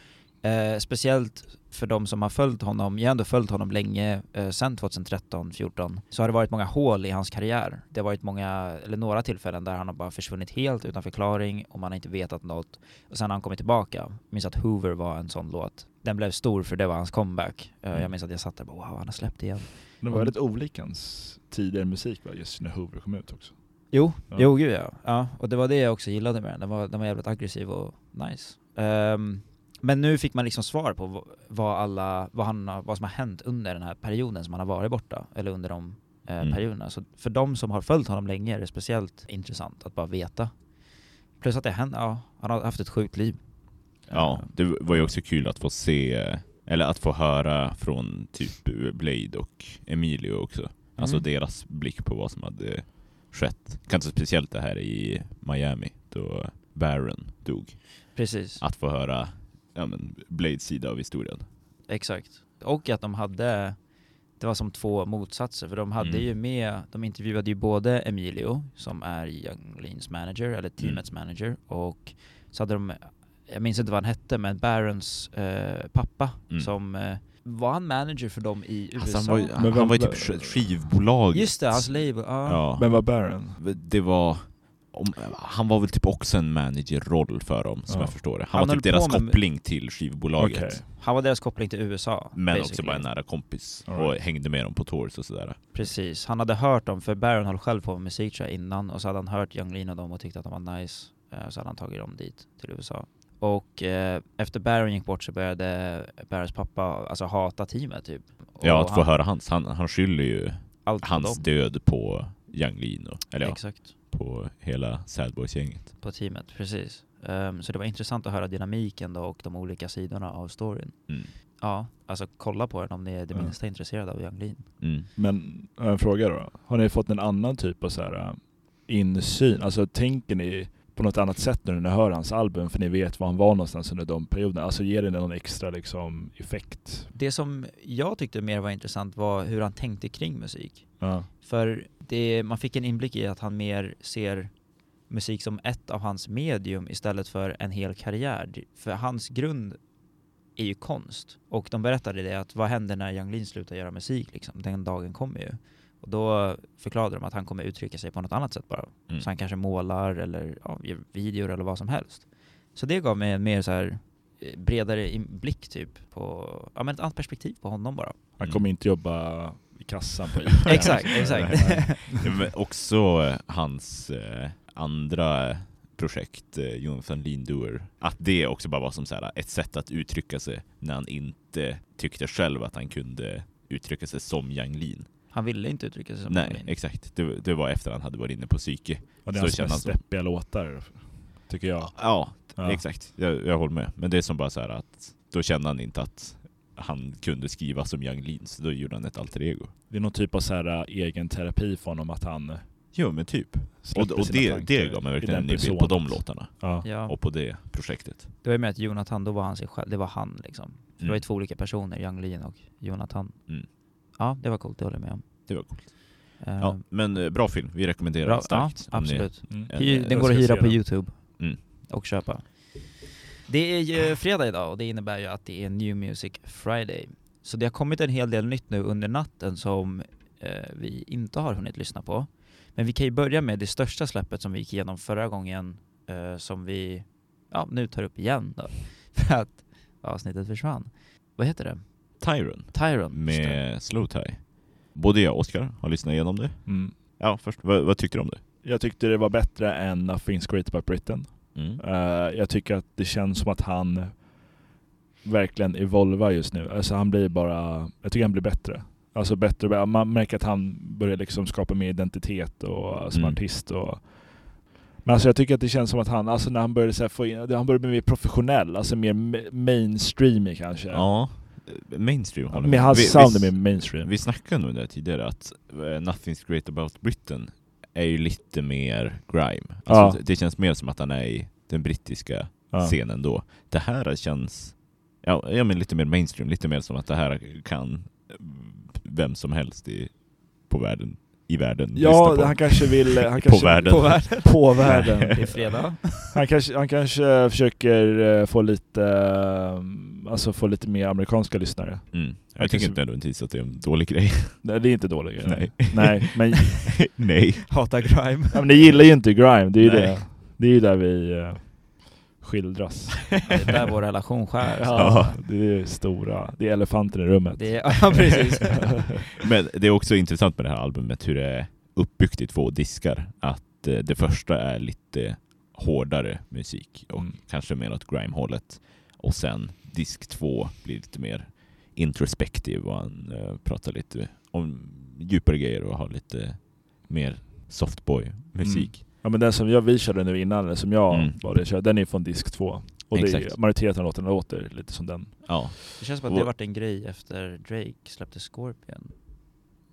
Speaker 2: eh, speciellt för de som har följt honom, jag har ändå följt honom länge, eh, sedan 2013, 14 så har det varit många hål i hans karriär. Det har varit många, eller några tillfällen där han har bara försvunnit helt utan förklaring och man har inte vetat något. Och sen har han kommit tillbaka. Jag minns att Hoover var en sån låt. Den blev stor för det var hans comeback. Eh, Jag minns att jag satt där och bara wow, han har släppt igen.
Speaker 3: De var väldigt olika hans tidigare musik va? just när Hoover kom ut också.
Speaker 2: Jo,
Speaker 3: Ja.
Speaker 2: jo gud ja. ja. Och det var det jag också gillade med den, den var, den var jävligt aggressiv och nice. Ehm, men nu fick man liksom svar på vad- vad, alla, vad, han, har- vad som har hänt under den här perioden som han har varit borta, eller under de eh,
Speaker 1: Mm.
Speaker 2: perioderna. Så för de som har följt honom länge är det speciellt intressant att bara veta. Plus att det hänt, ja, han har haft ett sjukt liv.
Speaker 1: Ja, det var ju också kul att få se, eller att få höra från typ Blade och Emilio också. Alltså
Speaker 2: Mm.
Speaker 1: deras blick på vad som hade skett. Kanske speciellt det här i Miami, då Baron dog.
Speaker 2: Precis.
Speaker 1: Att få höra ja, men Blades sida av historien.
Speaker 2: Exakt. Och att de hade, det var som två motsatser, för de hade
Speaker 1: Mm.
Speaker 2: ju med, de intervjuade ju både
Speaker 1: Mm.
Speaker 2: Emilio, som är Young Leans manager, eller teamets manager, och så hade de jag minns inte vad han hette, men Barons eh, pappa
Speaker 1: Mm.
Speaker 2: som, eh, var han manager för dem i USA?
Speaker 1: Alltså, han var ju,
Speaker 3: Men
Speaker 1: han,
Speaker 3: vem-
Speaker 1: var ju typ sk- skivbolaget.
Speaker 2: Just det, hans label. Ja.
Speaker 1: Ja.
Speaker 3: Men var Baron?
Speaker 1: det var... Om, han var väl typ också en managerroll för dem, som
Speaker 3: Ja.
Speaker 1: jag förstår det.
Speaker 2: Han
Speaker 1: Han, var
Speaker 2: höll
Speaker 1: typ deras
Speaker 2: på med-
Speaker 1: koppling till skivbolaget.
Speaker 3: Okej.
Speaker 2: Han var deras koppling till USA.
Speaker 1: Men också bara en nära kompis
Speaker 3: All
Speaker 1: och
Speaker 3: right.
Speaker 1: hängde med dem på tours och sådär.
Speaker 2: Precis, han hade hört dem, för Baron höll själv på med musik tror jag, innan och så hade han hört Yung Lean och dem och tyckte att de var nice. Eh, Så hade han tagit dem dit, till USA. Och eh, efter Baron gick bort så började Barons pappa alltså hata teamet typ. Och
Speaker 1: Ja, att få
Speaker 2: han-
Speaker 1: höra hans. Han, han skyller ju
Speaker 2: allt på
Speaker 1: hans
Speaker 2: dem.
Speaker 1: död på Yung Lean och, eller ja,
Speaker 2: Exakt,
Speaker 1: på hela Sad Boys-gänget.
Speaker 2: på teamet, precis. Ehm, så det var intressant att höra dynamiken då och de olika sidorna av storyn.
Speaker 1: Mm.
Speaker 2: Ja, alltså kolla på den om ni är det
Speaker 3: Ja.
Speaker 2: minsta intresserade av Yung Lean.
Speaker 1: Mm.
Speaker 3: Men jag har en fråga då. Har ni fått en annan typ av så här, äh, insyn? Alltså tänker ni på något annat sätt nu när ni hör hans album för ni vet var han var någonstans under de perioderna? Alltså ger det någon extra liksom, effekt?
Speaker 2: Det som jag tyckte mer var intressant var hur han tänkte kring musik.
Speaker 3: Ja.
Speaker 2: För det, man fick en inblick i att han mer ser musik som ett av hans medium istället för en hel karriär. För hans grund är ju konst. Och de berättade det att vad händer när Yung Lean slutar göra musik liksom? Den dagen kommer ju. Och då förklarade de att han kommer uttrycka sig på något annat sätt bara.
Speaker 1: Mm.
Speaker 2: Så han kanske målar eller ja, gör videor eller vad som helst. Så det gav mig en mer så här eh, bredare inblick typ på, ja men ett annat perspektiv på honom bara.
Speaker 3: Han
Speaker 1: Mm.
Speaker 3: kommer inte jobba i kassan på ICA.
Speaker 2: Exakt, exakt.
Speaker 1: Ja, men också eh, hans eh, andra projekt, eh, Jonathan Lindoer, att det också bara var som så här, eh, ett sätt att uttrycka sig när han inte tyckte själv att han kunde uttrycka sig som Yang Lin.
Speaker 2: Han ville inte uttrycka sig som
Speaker 1: Nej,
Speaker 2: Yung Lean.
Speaker 1: exakt. Det, det var efter han hade varit inne på psyke.
Speaker 3: Och det
Speaker 1: Så
Speaker 3: är
Speaker 1: känner
Speaker 3: hans
Speaker 1: han
Speaker 3: mest
Speaker 1: så.
Speaker 3: deppiga låtar, tycker jag.
Speaker 1: Ja,
Speaker 3: Ja.
Speaker 1: exakt. Jag, jag håller med. Men det är som bara så här att då kände han inte att han kunde skriva som Yang Lin, så då gjorde han ett alter ego.
Speaker 3: Det är någon typ av så här, äh, egen terapi för honom att han
Speaker 1: Jo men typ. Och,
Speaker 3: släpper
Speaker 1: och
Speaker 3: sina
Speaker 1: det,
Speaker 3: tankar
Speaker 1: det gav mig
Speaker 3: i
Speaker 1: verkligen
Speaker 3: den
Speaker 1: en ny bild på de
Speaker 3: personen.
Speaker 1: låtarna
Speaker 3: Ja.
Speaker 2: Ja.
Speaker 1: och på det projektet.
Speaker 2: Det var ju med att Jonathan, då var han sig själv, det var han liksom. Det var ju
Speaker 1: Mm.
Speaker 2: två olika personer, Yung Lean och Jonathan.
Speaker 1: Mm.
Speaker 2: Ja, det var coolt, det håller jag med om.
Speaker 1: Det var coolt.
Speaker 2: Eh,
Speaker 1: Ja, men eh, bra film. Vi rekommenderar
Speaker 2: bra-
Speaker 1: den starkt.
Speaker 2: Ja,
Speaker 1: om ni-
Speaker 2: absolut.
Speaker 3: Mm.
Speaker 1: en,
Speaker 2: Hyr,
Speaker 1: eh,
Speaker 2: den går att
Speaker 3: ska
Speaker 2: hyra
Speaker 3: se
Speaker 2: på
Speaker 3: den.
Speaker 2: Youtube
Speaker 1: Mm.
Speaker 2: och köpa. Det är ju fredag idag och det innebär ju att det är New Music Friday. Så det har kommit en hel del nytt nu under natten som eh, vi inte har hunnit lyssna på. Men vi kan ju börja med det största släppet som vi gick igenom förra gången eh, som vi ja, nu tar upp igen då. För att avsnittet försvann. Vad heter det?
Speaker 1: Tyron
Speaker 2: Tyron. just det.
Speaker 1: med Slow Tie. Både jag och Oskar har lyssnat igenom det.
Speaker 3: Mm.
Speaker 1: Ja, först. Vad, vad tyckte du om det?
Speaker 3: Jag tyckte det var bättre än Nothing's Great About Britain.
Speaker 1: Mm.
Speaker 3: Eh, jag tycker att det känns som att han verkligen evolvar just nu. Alltså han blir bara, jag tycker han blir bättre. Alltså bättre, och bättre. man märker att han börjar liksom skapa mer identitet och som
Speaker 1: Mm.
Speaker 3: artist och men alltså jag tycker att det känns som att han, alltså när han började så här få in, han började bli mer professionell, alltså mer ma- mainstreamig kanske.
Speaker 1: Ja, eh, mainstream håller
Speaker 3: Med
Speaker 1: jag
Speaker 3: hans
Speaker 1: Vi-
Speaker 3: sound är
Speaker 1: vi,
Speaker 3: mer mainstream.
Speaker 1: vi snackade nog om det här tidigare, att eh, Nothing's Great About Britain är ju lite mer grime. Alltså,
Speaker 3: Ja.
Speaker 1: det, det känns mer som att han är i den brittiska
Speaker 3: ja.
Speaker 1: scenen då. Det här känns ja, ja, men lite mer mainstream, lite mer som att det här kan eh, vem som helst i, på världen, i världen lyssna
Speaker 3: ja
Speaker 1: på.
Speaker 3: han kanske vill, han
Speaker 1: på
Speaker 3: kanske
Speaker 1: världen.
Speaker 2: På världen.
Speaker 3: på världen.
Speaker 2: Det är fredag.
Speaker 3: Han kanske, han kanske försöker eh, få lite, eh, alltså få lite mer amerikanska lyssnare.
Speaker 1: Mm. Jag
Speaker 3: Han
Speaker 1: tycker
Speaker 3: kanske-
Speaker 1: inte ändå inte att det är en dålig grej.
Speaker 3: Nej, det är inte dåligt. eller?
Speaker 1: Nej.
Speaker 3: Nej, men,
Speaker 1: Nej.
Speaker 2: Hatar grime.
Speaker 3: ja, men ni gillar ju inte grime, det är ju
Speaker 1: Nej.
Speaker 3: det. Det är ju där vi eh, skildras.
Speaker 2: Det är där vår relation skär. alltså.
Speaker 1: Ja.
Speaker 3: Det är ju stora, det är elefanten i rummet.
Speaker 2: Det är, ja, precis.
Speaker 1: Men det är också intressant med det här albumet hur det är uppbyggt i två diskar. Att eh, det första är lite hårdare musik och
Speaker 3: Mm.
Speaker 1: kanske mer åt grime-hållet. Och sen disk två blir lite mer introspektiv och han eh, pratar lite om djupare grejer och har lite mer softboy-musik.
Speaker 3: Ja men den som jag, vi körde nu innan, eller som jag
Speaker 1: Mm.
Speaker 3: var det körde, den är från disk 2. Och det är, ju-
Speaker 1: Exakt.
Speaker 3: majoriteten av låtarna låter lite som den.
Speaker 1: Ja.
Speaker 2: Det känns som att det har varit en grej efter Drake släppte Scorpion.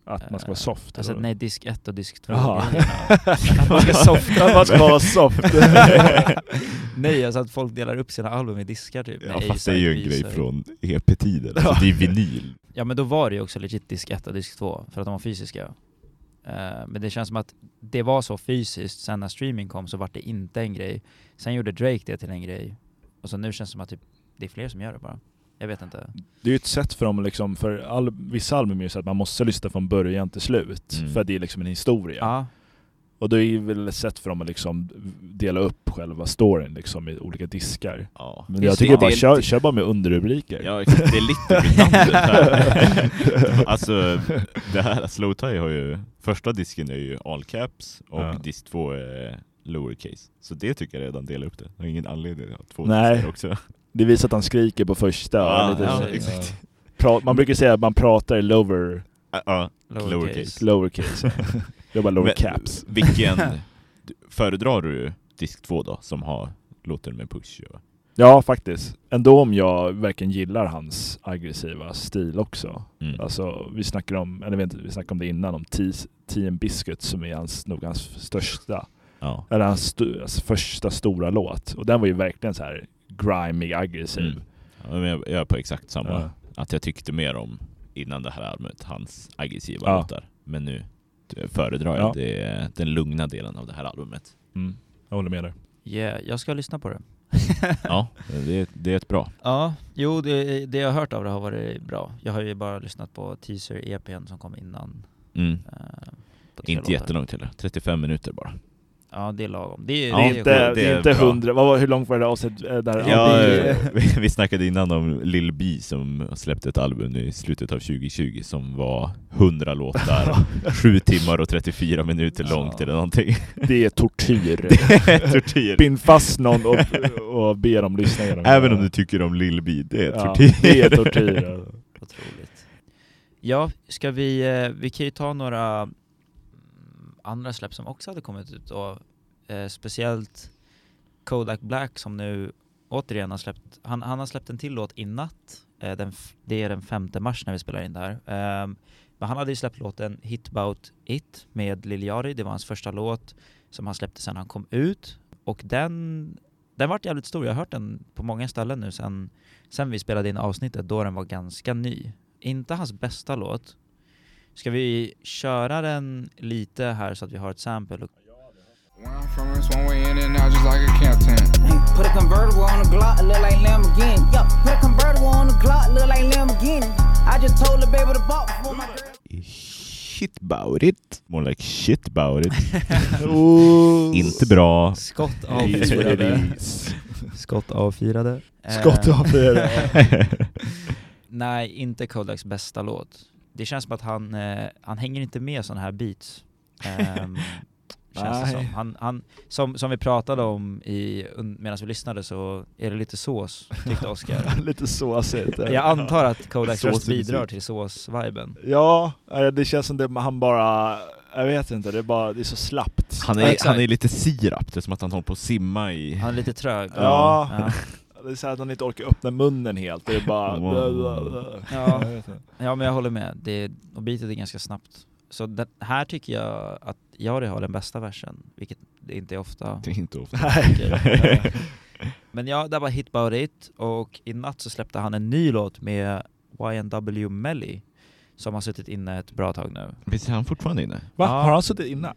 Speaker 3: Att man ska
Speaker 2: Eh,
Speaker 3: vara soft.
Speaker 2: Alltså
Speaker 3: eller?
Speaker 2: nej, disk 1 och disk 2
Speaker 3: Jaha.
Speaker 2: Att man ska softa.
Speaker 3: Man ska vara soft.
Speaker 2: Nej, alltså att folk delar upp sina album i diskar typ.
Speaker 1: Ja,
Speaker 2: med
Speaker 1: fast det är ju en
Speaker 2: A-side,
Speaker 1: grej
Speaker 2: B-side.
Speaker 1: från EP-tiden. Alltså, det är vinyl.
Speaker 2: Ja men då var det ju också legit disk 1 och disk 2, för att de var fysiska. Eh, men det känns som att det var så fysiskt, sen när streaming kom så var det inte en grej. Sen gjorde Drake det till en grej. Och Och så nu känns det som att typ, det är fler som gör det bara. Jag vet inte.
Speaker 3: Det är ju ett sätt för dem liksom, för all, vissa album är ju så att man måste lyssna från början till slut,
Speaker 1: Mm.
Speaker 3: för att det är liksom en historia.
Speaker 2: Ja.
Speaker 3: Och det är ju väl ett sätt för dem att liksom dela upp själva storyn liksom i olika diskar.
Speaker 1: Ja.
Speaker 3: Men
Speaker 1: Just
Speaker 3: jag
Speaker 1: det,
Speaker 3: tycker
Speaker 1: det
Speaker 3: bara,
Speaker 1: är
Speaker 3: kör,
Speaker 1: lite-
Speaker 3: kör bara med underrubriker.
Speaker 1: Ja, exakt. Det är lite redundant. alltså, det här Slow Tie har ju... Första disken är ju all caps och
Speaker 3: Ja.
Speaker 1: disk två är lowercase. Så det tycker jag redan delar upp det. Jag har ingen anledning att ha två
Speaker 3: Nej.
Speaker 1: diskar också.
Speaker 3: Det visar att han skriker på första.
Speaker 1: Ja,
Speaker 3: lite,
Speaker 1: ja,
Speaker 3: så-
Speaker 1: exakt.
Speaker 3: Pra- man brukar säga att man pratar i lower,
Speaker 1: Ja, ja. Lowercase.
Speaker 2: Lowercase.
Speaker 3: lowercase. Jag bara lower
Speaker 1: ah. Men-
Speaker 3: caps.
Speaker 1: Vilken... du- Föredrar du disk två då, som har låten med push? Och...
Speaker 3: Ja, faktiskt. Ändå om jag verkligen gillar hans aggressiva stil också.
Speaker 1: Mm.
Speaker 3: Alltså, vi snackade om, eller jag vet inte, vi snackade om det innan, om Tees- Tea and Biscuit som är hans, nog hans största,
Speaker 1: Ja.
Speaker 3: eller hans, stu- hans alltså första stora låt. Och den var ju verkligen så här grimy, aggressiv.
Speaker 1: Mm. Ja, men jag, jag är på exakt samma.
Speaker 3: Ja.
Speaker 1: Att jag tyckte mer om, innan det här albumet, hans aggressiva
Speaker 3: Ja.
Speaker 1: låtar. Men nu föredrar jag
Speaker 3: Ja.
Speaker 1: det, den lugna delen av det här albumet.
Speaker 3: Mm. Jag håller med dig.
Speaker 2: Yeah, jag ska lyssna på det.
Speaker 1: Ja, det, är- det är ett bra.
Speaker 2: Ja, jo det, det jag har hört av det har varit bra. Jag har ju bara lyssnat på teaser-EPn som kom innan.
Speaker 1: Mm.
Speaker 2: eh, på tre
Speaker 1: Inte
Speaker 2: låtar.
Speaker 1: jättelångt heller, 35 minuter bara.
Speaker 2: Ja, det är lagom. Det är,
Speaker 1: Ja,
Speaker 3: det är
Speaker 2: det är
Speaker 3: inte,
Speaker 1: det-
Speaker 2: skönt.
Speaker 1: det
Speaker 3: det
Speaker 1: är
Speaker 3: är inte
Speaker 1: bra.
Speaker 3: hundra, vad, var- hur långt var det där avsnittet? eh, Där
Speaker 1: Ja,
Speaker 3: det-
Speaker 1: eh, vi, vi snackade innan om Lil B som släppte ett album i slutet av 2020 som var 100 låtar, 7 timmar och 34 minuter långt
Speaker 2: Ja.
Speaker 1: eller någonting.
Speaker 3: det är tortyr.
Speaker 1: tortyr.
Speaker 3: Bind fast någon och, och be dem lyssna igenom.
Speaker 1: Även om du tycker om Lil B, det är
Speaker 3: ja,
Speaker 1: tortyr. Oh.
Speaker 3: Det är tortyr.
Speaker 2: Otroligt. Ja, ska vi, eh, vi kan ju ta några mm, andra släpp som också hade kommit ut då. Eh, speciellt Kodak Black som nu återigen har släppt, han, han har släppt en till låt i natt. Eh, den, f- det är den 5 mars när vi spelar in det här. Ehm, men han hade ju släppt låten Hit About It med Lil Yari. Det var hans första låt som han släppte sedan han kom ut. Och den, den vart jävligt stor. Jag har hört den på många ställen nu sen sen vi spelade in avsnittet då den var ganska ny. Inte hans bästa låt. Ska vi köra den lite här så att vi har ett sample? Och...
Speaker 6: Where I'm from, it's one way in and out, just like a camp tent.
Speaker 7: Put a convertible on the Glock, look like Lamborghini. Yup, put a convertible on the Glock, look like Lamborghini. I just told the baby to bop before my girl.
Speaker 1: Shit about it. More like shit about it.
Speaker 3: Oh.
Speaker 1: Inte bra.
Speaker 2: Skott
Speaker 3: Is what it
Speaker 2: avfyrade.
Speaker 3: is.
Speaker 2: Skott avfyrade. Eh,
Speaker 3: Skott av det.
Speaker 2: Nej, inte Kodaks bästa låt. Det känns som att han, eh, han hänger inte med sådana här beats. Ehm, känns det
Speaker 3: Nej.
Speaker 2: som. Han, han, som, som vi pratade om i, medan vi lyssnade så är det lite sås, tyckte Oskar.
Speaker 3: Lite såsigt.
Speaker 2: Jag antar att Kodaks
Speaker 1: Sås
Speaker 2: röst
Speaker 1: till musik.
Speaker 2: bidrar till sås-viben.
Speaker 3: Ja, eh, det känns som det, han bara... Jag vet inte, det är, bara, det är så slappt.
Speaker 1: Han
Speaker 2: Ja,
Speaker 1: är,
Speaker 2: exakt.
Speaker 1: han är lite sirap, det är som att han håller på att simma i...
Speaker 2: Han är lite trög.
Speaker 3: Ja.
Speaker 2: Ja,
Speaker 3: Det är så här att han inte orkar öppna munnen helt. Det är bara...
Speaker 1: Wow.
Speaker 2: Ja.
Speaker 3: Jag vet inte.
Speaker 2: ja men jag håller med. Det, och beatet är ganska snabbt. Så den, här tycker jag att Jari har den bästa versen, vilket det inte är ofta.
Speaker 1: Det är inte ofta.
Speaker 2: Nej. men ja, det var Hit About It och i natt så släppte han en ny låt med YNW Melly som har suttit inne ett bra tag nu.
Speaker 1: Visst är han fortfarande inne?
Speaker 3: Va?
Speaker 2: Ja.
Speaker 3: Har han suttit inne?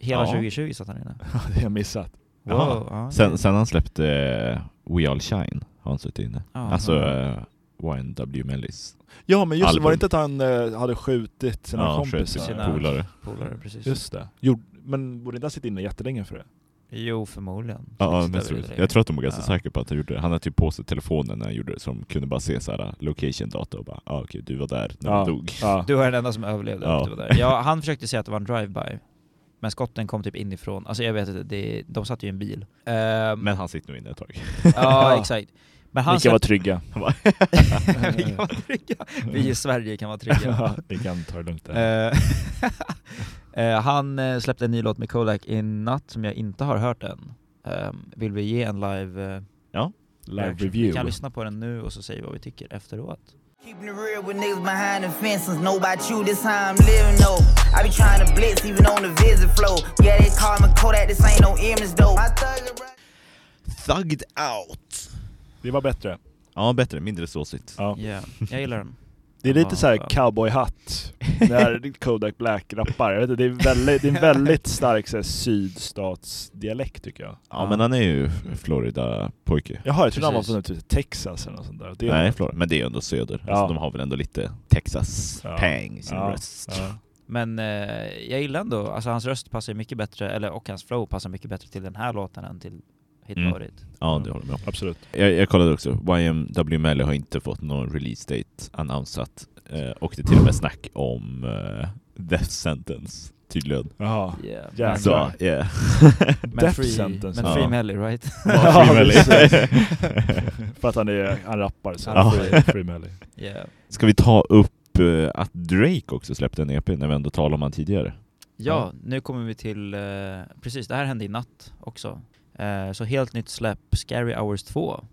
Speaker 2: Hela
Speaker 1: Ja.
Speaker 2: 2020 satt han inne.
Speaker 3: Det har jag missat.
Speaker 1: Jaha.
Speaker 2: ja.
Speaker 1: Sen, sen han släppte eh, We All Shine har han suttit inne.
Speaker 2: Ja.
Speaker 1: Alltså uh, YNW Mellis.
Speaker 3: Ja men just det,
Speaker 1: Album.
Speaker 3: var det inte att han eh, hade skjutit sina
Speaker 1: Ja,
Speaker 3: kompisar?
Speaker 1: sköt
Speaker 2: Sina-
Speaker 1: sina polare.
Speaker 2: Polare, precis.
Speaker 3: Just det. Jo, men borde inte han sitta inne jättelänge för det?
Speaker 2: Jo, förmodligen.
Speaker 1: Ja, men
Speaker 2: Sitter vi
Speaker 1: jag tror-
Speaker 2: där.
Speaker 1: jag tror att de var ganska
Speaker 2: Ja.
Speaker 1: säkra på att han gjorde det. Han hade typ på sig telefonen när han gjorde det, som kunde bara se så här location data och bara ah, okej, du var där när
Speaker 3: Ja.
Speaker 1: han dog.
Speaker 3: Ja.
Speaker 2: Du var den enda som överlevde.
Speaker 1: Ja.
Speaker 2: att Du var där. Ja, han försökte säga att det var en drive-by. Men skotten kom typ inifrån. Alltså jag vet inte, det, de satt ju i en bil. Ehm,
Speaker 1: Men han sitter nog inne ett tag.
Speaker 2: ja, exakt. Men han
Speaker 3: Vilka var
Speaker 2: släppte...
Speaker 3: trygga.
Speaker 2: vi kan vara trygga. Vi i Sverige kan vara trygga.
Speaker 3: Vi kan ta det lugnt där.
Speaker 2: Eh, eh, han eh, släppte en ny låt med Kodak i natt som jag inte har hört än. Ehm, vill vi ge en live... eh,
Speaker 3: Live
Speaker 2: reaction? Vi kan
Speaker 3: review.
Speaker 2: lyssna på den nu och så säger vi vad vi tycker efteråt.
Speaker 7: Keeping it real with niggas behind the fences. Know about you, this how I'm living though. I be trying to blitz even on the visit flow. Yeah, they call me Kodak, this ain't no image though. My thug right.
Speaker 1: Thugged out!
Speaker 3: Det var bättre.
Speaker 1: Ja, bättre. Mindre såsigt.
Speaker 3: Ja.
Speaker 2: Ja, jag gillar den.
Speaker 3: Det är lite
Speaker 2: Ja,
Speaker 3: såhär
Speaker 2: fan.
Speaker 3: cowboyhatt när Kodak Black rappar. Jag vet inte, det, är väldigt, det är en väldigt stark så här, sydstatsdialekt tycker jag.
Speaker 1: Ja men han är ju Florida-pojke.
Speaker 3: Jaha, jag trodde han var
Speaker 2: Precis.
Speaker 3: från typ Texas eller något sånt där. Det är-
Speaker 1: Nej, Florida. Men det är ändå söder.
Speaker 3: Ja.
Speaker 1: Alltså, de har väl ändå lite Texas
Speaker 3: Ja.
Speaker 1: pang i sin
Speaker 3: Ja.
Speaker 1: röst.
Speaker 3: Ja.
Speaker 2: Men eh, jag gillar ändå, alltså hans röst passar ju mycket bättre, eller och hans flow passar mycket bättre till den här låten än till Hit
Speaker 1: Mm.
Speaker 2: Var It.
Speaker 1: Ja, det håller jag med om.
Speaker 3: Absolut.
Speaker 1: Jag, jag kollade också, YMW Mello har inte fått någon release date annonsat eh, och det är till och med snack om eh, Death Sentence tydligen.
Speaker 3: Jaha.
Speaker 2: Yeah.
Speaker 3: Ja,
Speaker 2: Men-
Speaker 1: Så,
Speaker 3: klar.
Speaker 1: yeah.
Speaker 2: Men
Speaker 3: Death
Speaker 2: free,
Speaker 3: Sentence,
Speaker 2: men
Speaker 1: ja.
Speaker 2: free Melly right?
Speaker 1: Bara Free Melly.
Speaker 3: För att han, är, han rappar så.
Speaker 1: Ja.
Speaker 3: Free, free Melly.
Speaker 2: yeah.
Speaker 1: Ska vi ta upp eh, att Drake också släppte en EP när vi ändå talade om han tidigare?
Speaker 2: Ja, nu kommer vi till, eh, precis det här hände i natt också. Eh, så helt nytt släpp, Scary Hours 2.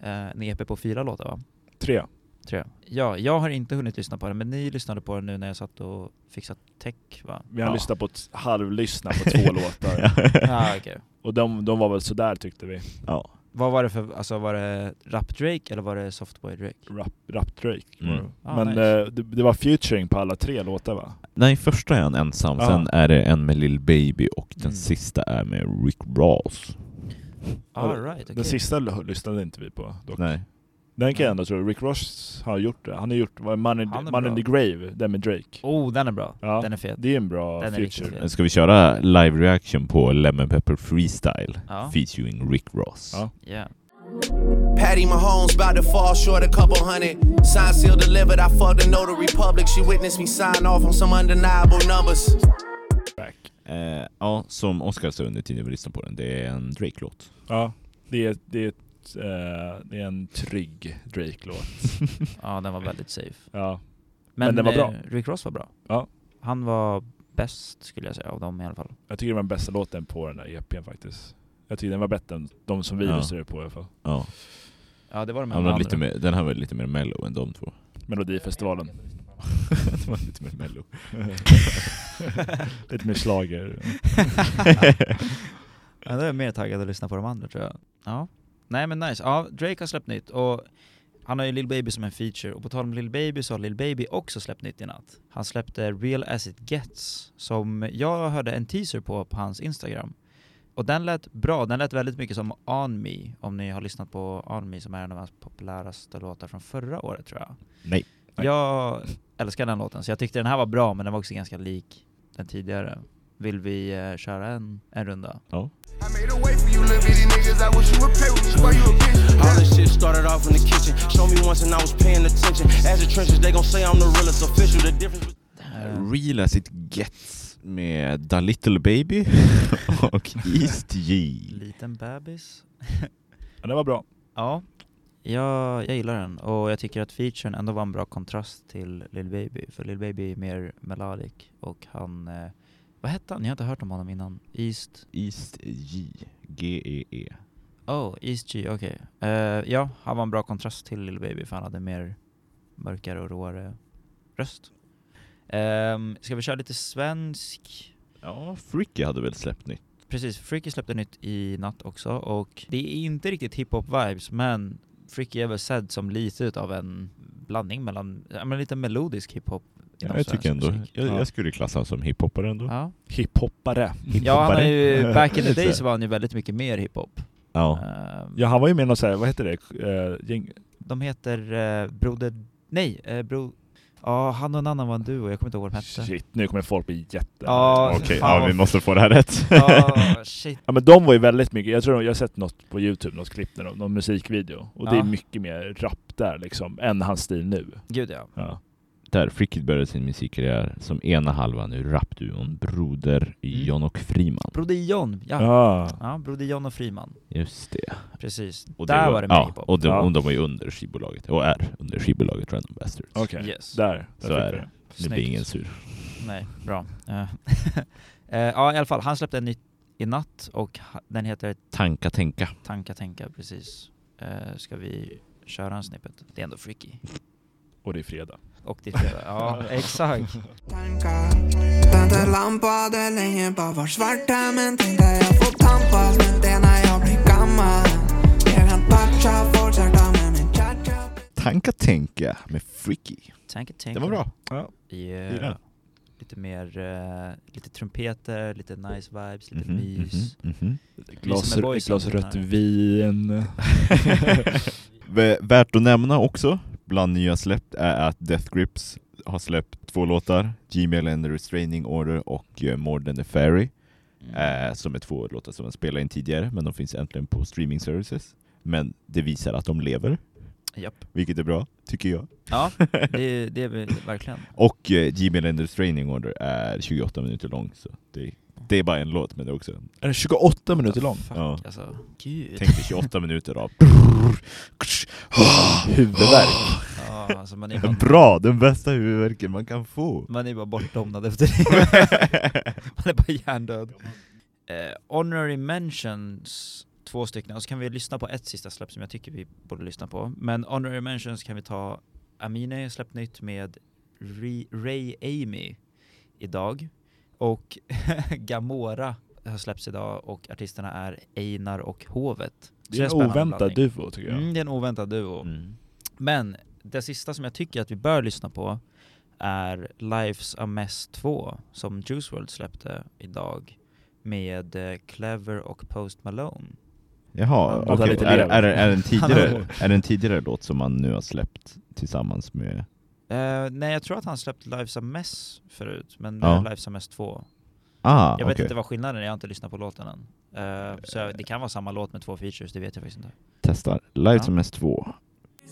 Speaker 2: Eh, en EP på fyra låtar va?
Speaker 3: Tre.
Speaker 2: Tror jag. Ja, jag har inte hunnit lyssna på den, men ni lyssnade på den nu när jag satt och fixade tech va?
Speaker 3: Vi har
Speaker 1: Ja.
Speaker 3: lyssnat på, t- halvlyssnat på två låtar. Mm.
Speaker 2: Ja, ah, okej.
Speaker 3: Och de, de var väl sådär tyckte vi.
Speaker 1: ja.
Speaker 2: Vad var det för, alltså var det Rap-Drake eller var det Softboy-Drake?
Speaker 3: Rap, rap Drake.
Speaker 1: Mm.
Speaker 2: Ah,
Speaker 3: Men
Speaker 2: nice.
Speaker 3: eh, det, det var featuring på alla tre låtar va?
Speaker 1: Nej, första är han ensam,
Speaker 3: Ja.
Speaker 1: sen är det en med Lil Baby och den
Speaker 2: Mm.
Speaker 1: sista är med Rick Ross.
Speaker 2: All right, okej.
Speaker 3: Den sista l- lyssnade inte vi på dock.
Speaker 1: Nej.
Speaker 3: Den kan jag ändå tro, Rick Ross har gjort det. Han har gjort vad, Man, in,
Speaker 2: Han är
Speaker 3: Man in
Speaker 2: bra.
Speaker 3: the Grave, den med Drake.
Speaker 2: Oh, den är bra.
Speaker 3: Ja.
Speaker 2: Den är fet.
Speaker 3: Det är en bra
Speaker 2: Den är riktigt
Speaker 3: feature.
Speaker 2: fet.
Speaker 1: Ska vi köra live reaction på Lemon Pepper Freestyle
Speaker 2: Ja.
Speaker 1: featuring Rick Ross?
Speaker 3: Ja.
Speaker 2: Yeah.
Speaker 4: Patty Mahomes about to fall short a couple hundred. Sign seal delivered. I fucked a notary public. She witnessed me sign off on some undeniable numbers.
Speaker 3: Back.
Speaker 1: Eh, ja, som Oscar sa under tiden vi lyssnade på den, det är en Drake-låt.
Speaker 3: Ja, det är, det är, ett, eh, det är en trygg Drake-låt.
Speaker 2: Ja, den var väldigt safe.
Speaker 3: Ja.
Speaker 2: Men,
Speaker 3: den var
Speaker 2: eh,
Speaker 3: bra.
Speaker 2: Rick Ross var bra.
Speaker 3: Ja.
Speaker 2: Han var bäst skulle jag säga av dem i alla fall.
Speaker 3: Jag tycker det var den bästa låten på den där EPn faktiskt. Jag tycker den var bättre än de som vi
Speaker 1: Ja.
Speaker 3: lyssnade på i alla fall.
Speaker 1: Ja.
Speaker 2: Ja, det var de
Speaker 1: Han var lite mer, den här var lite mer mellow än de två.
Speaker 3: Melodifestivalen.
Speaker 1: den var lite mer mellow.
Speaker 3: Lite mer slager.
Speaker 2: ja, då är jag mer taggad att lyssna på de andra tror jag. Ja. Nej men nice. Ja, Drake har släppt nytt och han har ju Lil Baby som en feature och på tal om Lil Baby så har Lil Baby också släppt nytt i natt. Han släppte Real As It Gets som jag hörde en teaser på på hans Instagram. Och den lät bra, den lät väldigt mycket som On Me, om ni har lyssnat på On Me som är en av hans populäraste låtar från förra året tror jag.
Speaker 1: Nej.
Speaker 3: Nej.
Speaker 2: Jag älskar den låten, så jag tyckte den här var bra, men den var också ganska lik den tidigare. Vill vi eh, köra en, en runda?
Speaker 1: Ja.
Speaker 8: I made a way for you, little bitty niggas. I wish you would pay with you while you a bitch.
Speaker 4: All this shit started off in the kitchen. Show me once and I was paying attention. As the trenches, they gon' say I'm the realest official. The difference. between-
Speaker 2: Eh, Mm.
Speaker 1: Real as it gets med Da Little Baby och East G.
Speaker 2: Liten bebis.
Speaker 3: Ja, det var bra.
Speaker 2: Ja, jag, jag gillar den och jag tycker att featuren ändå var en bra kontrast till Lil Baby, för Lil Baby är mer melodic och han, eh, vad hette han? Jag har inte hört om honom innan. East?
Speaker 1: East G. E G-E-E.
Speaker 2: Oh, East G, okej. Eh, ja, han var en bra kontrast till Lil Baby för han hade mer mörkare och råare röst. Um, ska vi köra lite svensk?
Speaker 1: Ja, Freaky hade väl släppt nytt.
Speaker 2: Precis, Freaky släppte nytt i natt också och det är inte riktigt hiphop-vibes men Freaky är väl sedd som lite utav en blandning mellan, ja men lite melodisk hiphop inom
Speaker 1: jag
Speaker 2: svensk
Speaker 1: tycker ändå.
Speaker 2: musik.
Speaker 1: Jag,
Speaker 3: Ja.
Speaker 1: jag skulle klassa honom som hiphoppare ändå.
Speaker 2: Ja.
Speaker 3: Hiphoppare.
Speaker 2: Mm. ja, han har ju,
Speaker 1: Hiphoppare.
Speaker 2: back in the
Speaker 1: Lite.
Speaker 2: days var han ju väldigt mycket mer hiphop.
Speaker 1: Ja.
Speaker 2: Ehm,
Speaker 3: Ja, han var ju med i någon så här, vad heter det? Eh, gäng...
Speaker 2: De heter eh, Broder... Nej, eh, Bro... Ja, han och en annan var en duo, jag kommer inte ihåg vad de hette.
Speaker 3: Shit, nu kommer folk bli jätte...
Speaker 2: Ja,
Speaker 1: Okej,
Speaker 2: fan
Speaker 1: ja, vi
Speaker 2: vad-
Speaker 1: måste få det här rätt.
Speaker 2: Ja, shit.
Speaker 3: Ja men de var ju väldigt mycket, jag tror jag har sett något på youtube, något klipp, när de- någon musikvideo. Och det
Speaker 2: Ja.
Speaker 3: är mycket mer rap där liksom, än hans stil nu.
Speaker 2: Gud ja.
Speaker 3: Ja.
Speaker 1: Där Freaky började sin musikkarriär som ena halvan ur rapduon Broder, John och Friman.
Speaker 2: Broder John, ja. ja.
Speaker 3: Ah.
Speaker 2: Broder John och Friman.
Speaker 1: Just det.
Speaker 2: Precis.
Speaker 1: Och
Speaker 2: Där var det mer
Speaker 1: ja,
Speaker 2: hiphop.
Speaker 1: och de,
Speaker 3: Ja.
Speaker 1: och de var ju under skivbolaget, och är under skivbolaget Random Bastards.
Speaker 3: Okej,
Speaker 2: Yes.
Speaker 3: där. där
Speaker 1: Så
Speaker 3: fick
Speaker 1: är
Speaker 3: vi
Speaker 1: det. Nu blir ingen sur.
Speaker 2: Nej, bra. Eh, eh, ja, i alla fall. Han släppte en ny i natt och ha- den heter
Speaker 1: Tanka tänka.
Speaker 2: Tanka tänka, precis. Eh, ska vi köra en snippet? Det är ändå freaky.
Speaker 3: Och det är fredag.
Speaker 2: Och det är Ja, exakt.
Speaker 9: tankar Tänder lampa hade länge bara varit svarta Men tänkte jag får tampas med det när jag blir gammal Ger en pacha, fortsätter med min cha-cha
Speaker 1: Tanka tänka. tillbaka med Freaky.
Speaker 2: Tanky Tanky.
Speaker 1: Det var bra. Gillar
Speaker 2: Yeah.
Speaker 1: den.
Speaker 2: eh, Lite mer, eh, lite trumpeter, lite nice vibes, lite
Speaker 1: Mhm,
Speaker 2: mys.
Speaker 1: mhm, mhm.
Speaker 3: Ett
Speaker 2: Lyser
Speaker 3: glas,
Speaker 2: med boysen
Speaker 3: ett glas
Speaker 2: den
Speaker 3: rött
Speaker 2: här.
Speaker 3: vin.
Speaker 1: Vä- Värt att nämna också, bland nya släppt, är att Death Grips har släppt två låtar, Gmail and the Restraining Order och eh, More than a Fairy, eh, som är två låtar som man spelade in tidigare, men de finns äntligen på streaming services. Men det visar att de lever,
Speaker 2: Japp.
Speaker 1: vilket är bra, tycker jag.
Speaker 2: Ja, det, det är vi verkligen.
Speaker 1: Och eh, Gmail and the Restraining Order är 28 minuter lång, så det, det är bara en låt, men det är också en...
Speaker 3: Är den 28 minuter lång?
Speaker 2: Fuck
Speaker 1: Ja.
Speaker 2: alltså. Gud.
Speaker 1: Tänk dig 28 minuter av...
Speaker 3: Huvudvärk.
Speaker 2: Ja, alltså man, är bara,
Speaker 1: Bra! Den bästa huvudvärken man kan få!
Speaker 2: man är bara bortdomnad efter det. man är bara hjärndöd. Eh, honorary mentions, två stycken. Och så kan vi lyssna på ett sista släpp som jag tycker vi borde lyssna på. Men honorary mentions kan vi ta Amine släppt nytt med Re- Ray Amy idag. Och Gamora har släppts idag och artisterna är Einar och Hovet.
Speaker 3: Det är en
Speaker 2: Så spännande
Speaker 3: oväntad
Speaker 2: blandning.
Speaker 3: duo tycker jag.
Speaker 2: Mm, det är en oväntad duo.
Speaker 1: Mm.
Speaker 2: Men det sista som jag tycker att vi bör lyssna på är Life's a Mess 2 som Juice WRLD släppte idag med eh, Clever och Post Malone.
Speaker 1: Jaha,
Speaker 3: Han
Speaker 1: okej.
Speaker 3: pratar lite
Speaker 1: Är,
Speaker 3: mer.
Speaker 1: är, är, det en
Speaker 2: Han
Speaker 1: tidigare, är det en tidigare låt som man nu har släppt tillsammans med...
Speaker 2: Eh, nej, jag tror att han släppte Life's a Mess förut, men
Speaker 1: Ja.
Speaker 2: ja. Life's a Mess 2.
Speaker 1: Ah,
Speaker 2: jag vet
Speaker 1: okej.
Speaker 2: inte vad skillnaden är, jag har inte lyssnat på låten än. Eh, så jag, det kan vara samma låt med två features, det vet jag faktiskt inte.
Speaker 1: Testar. Live
Speaker 2: Ja.
Speaker 1: som S2.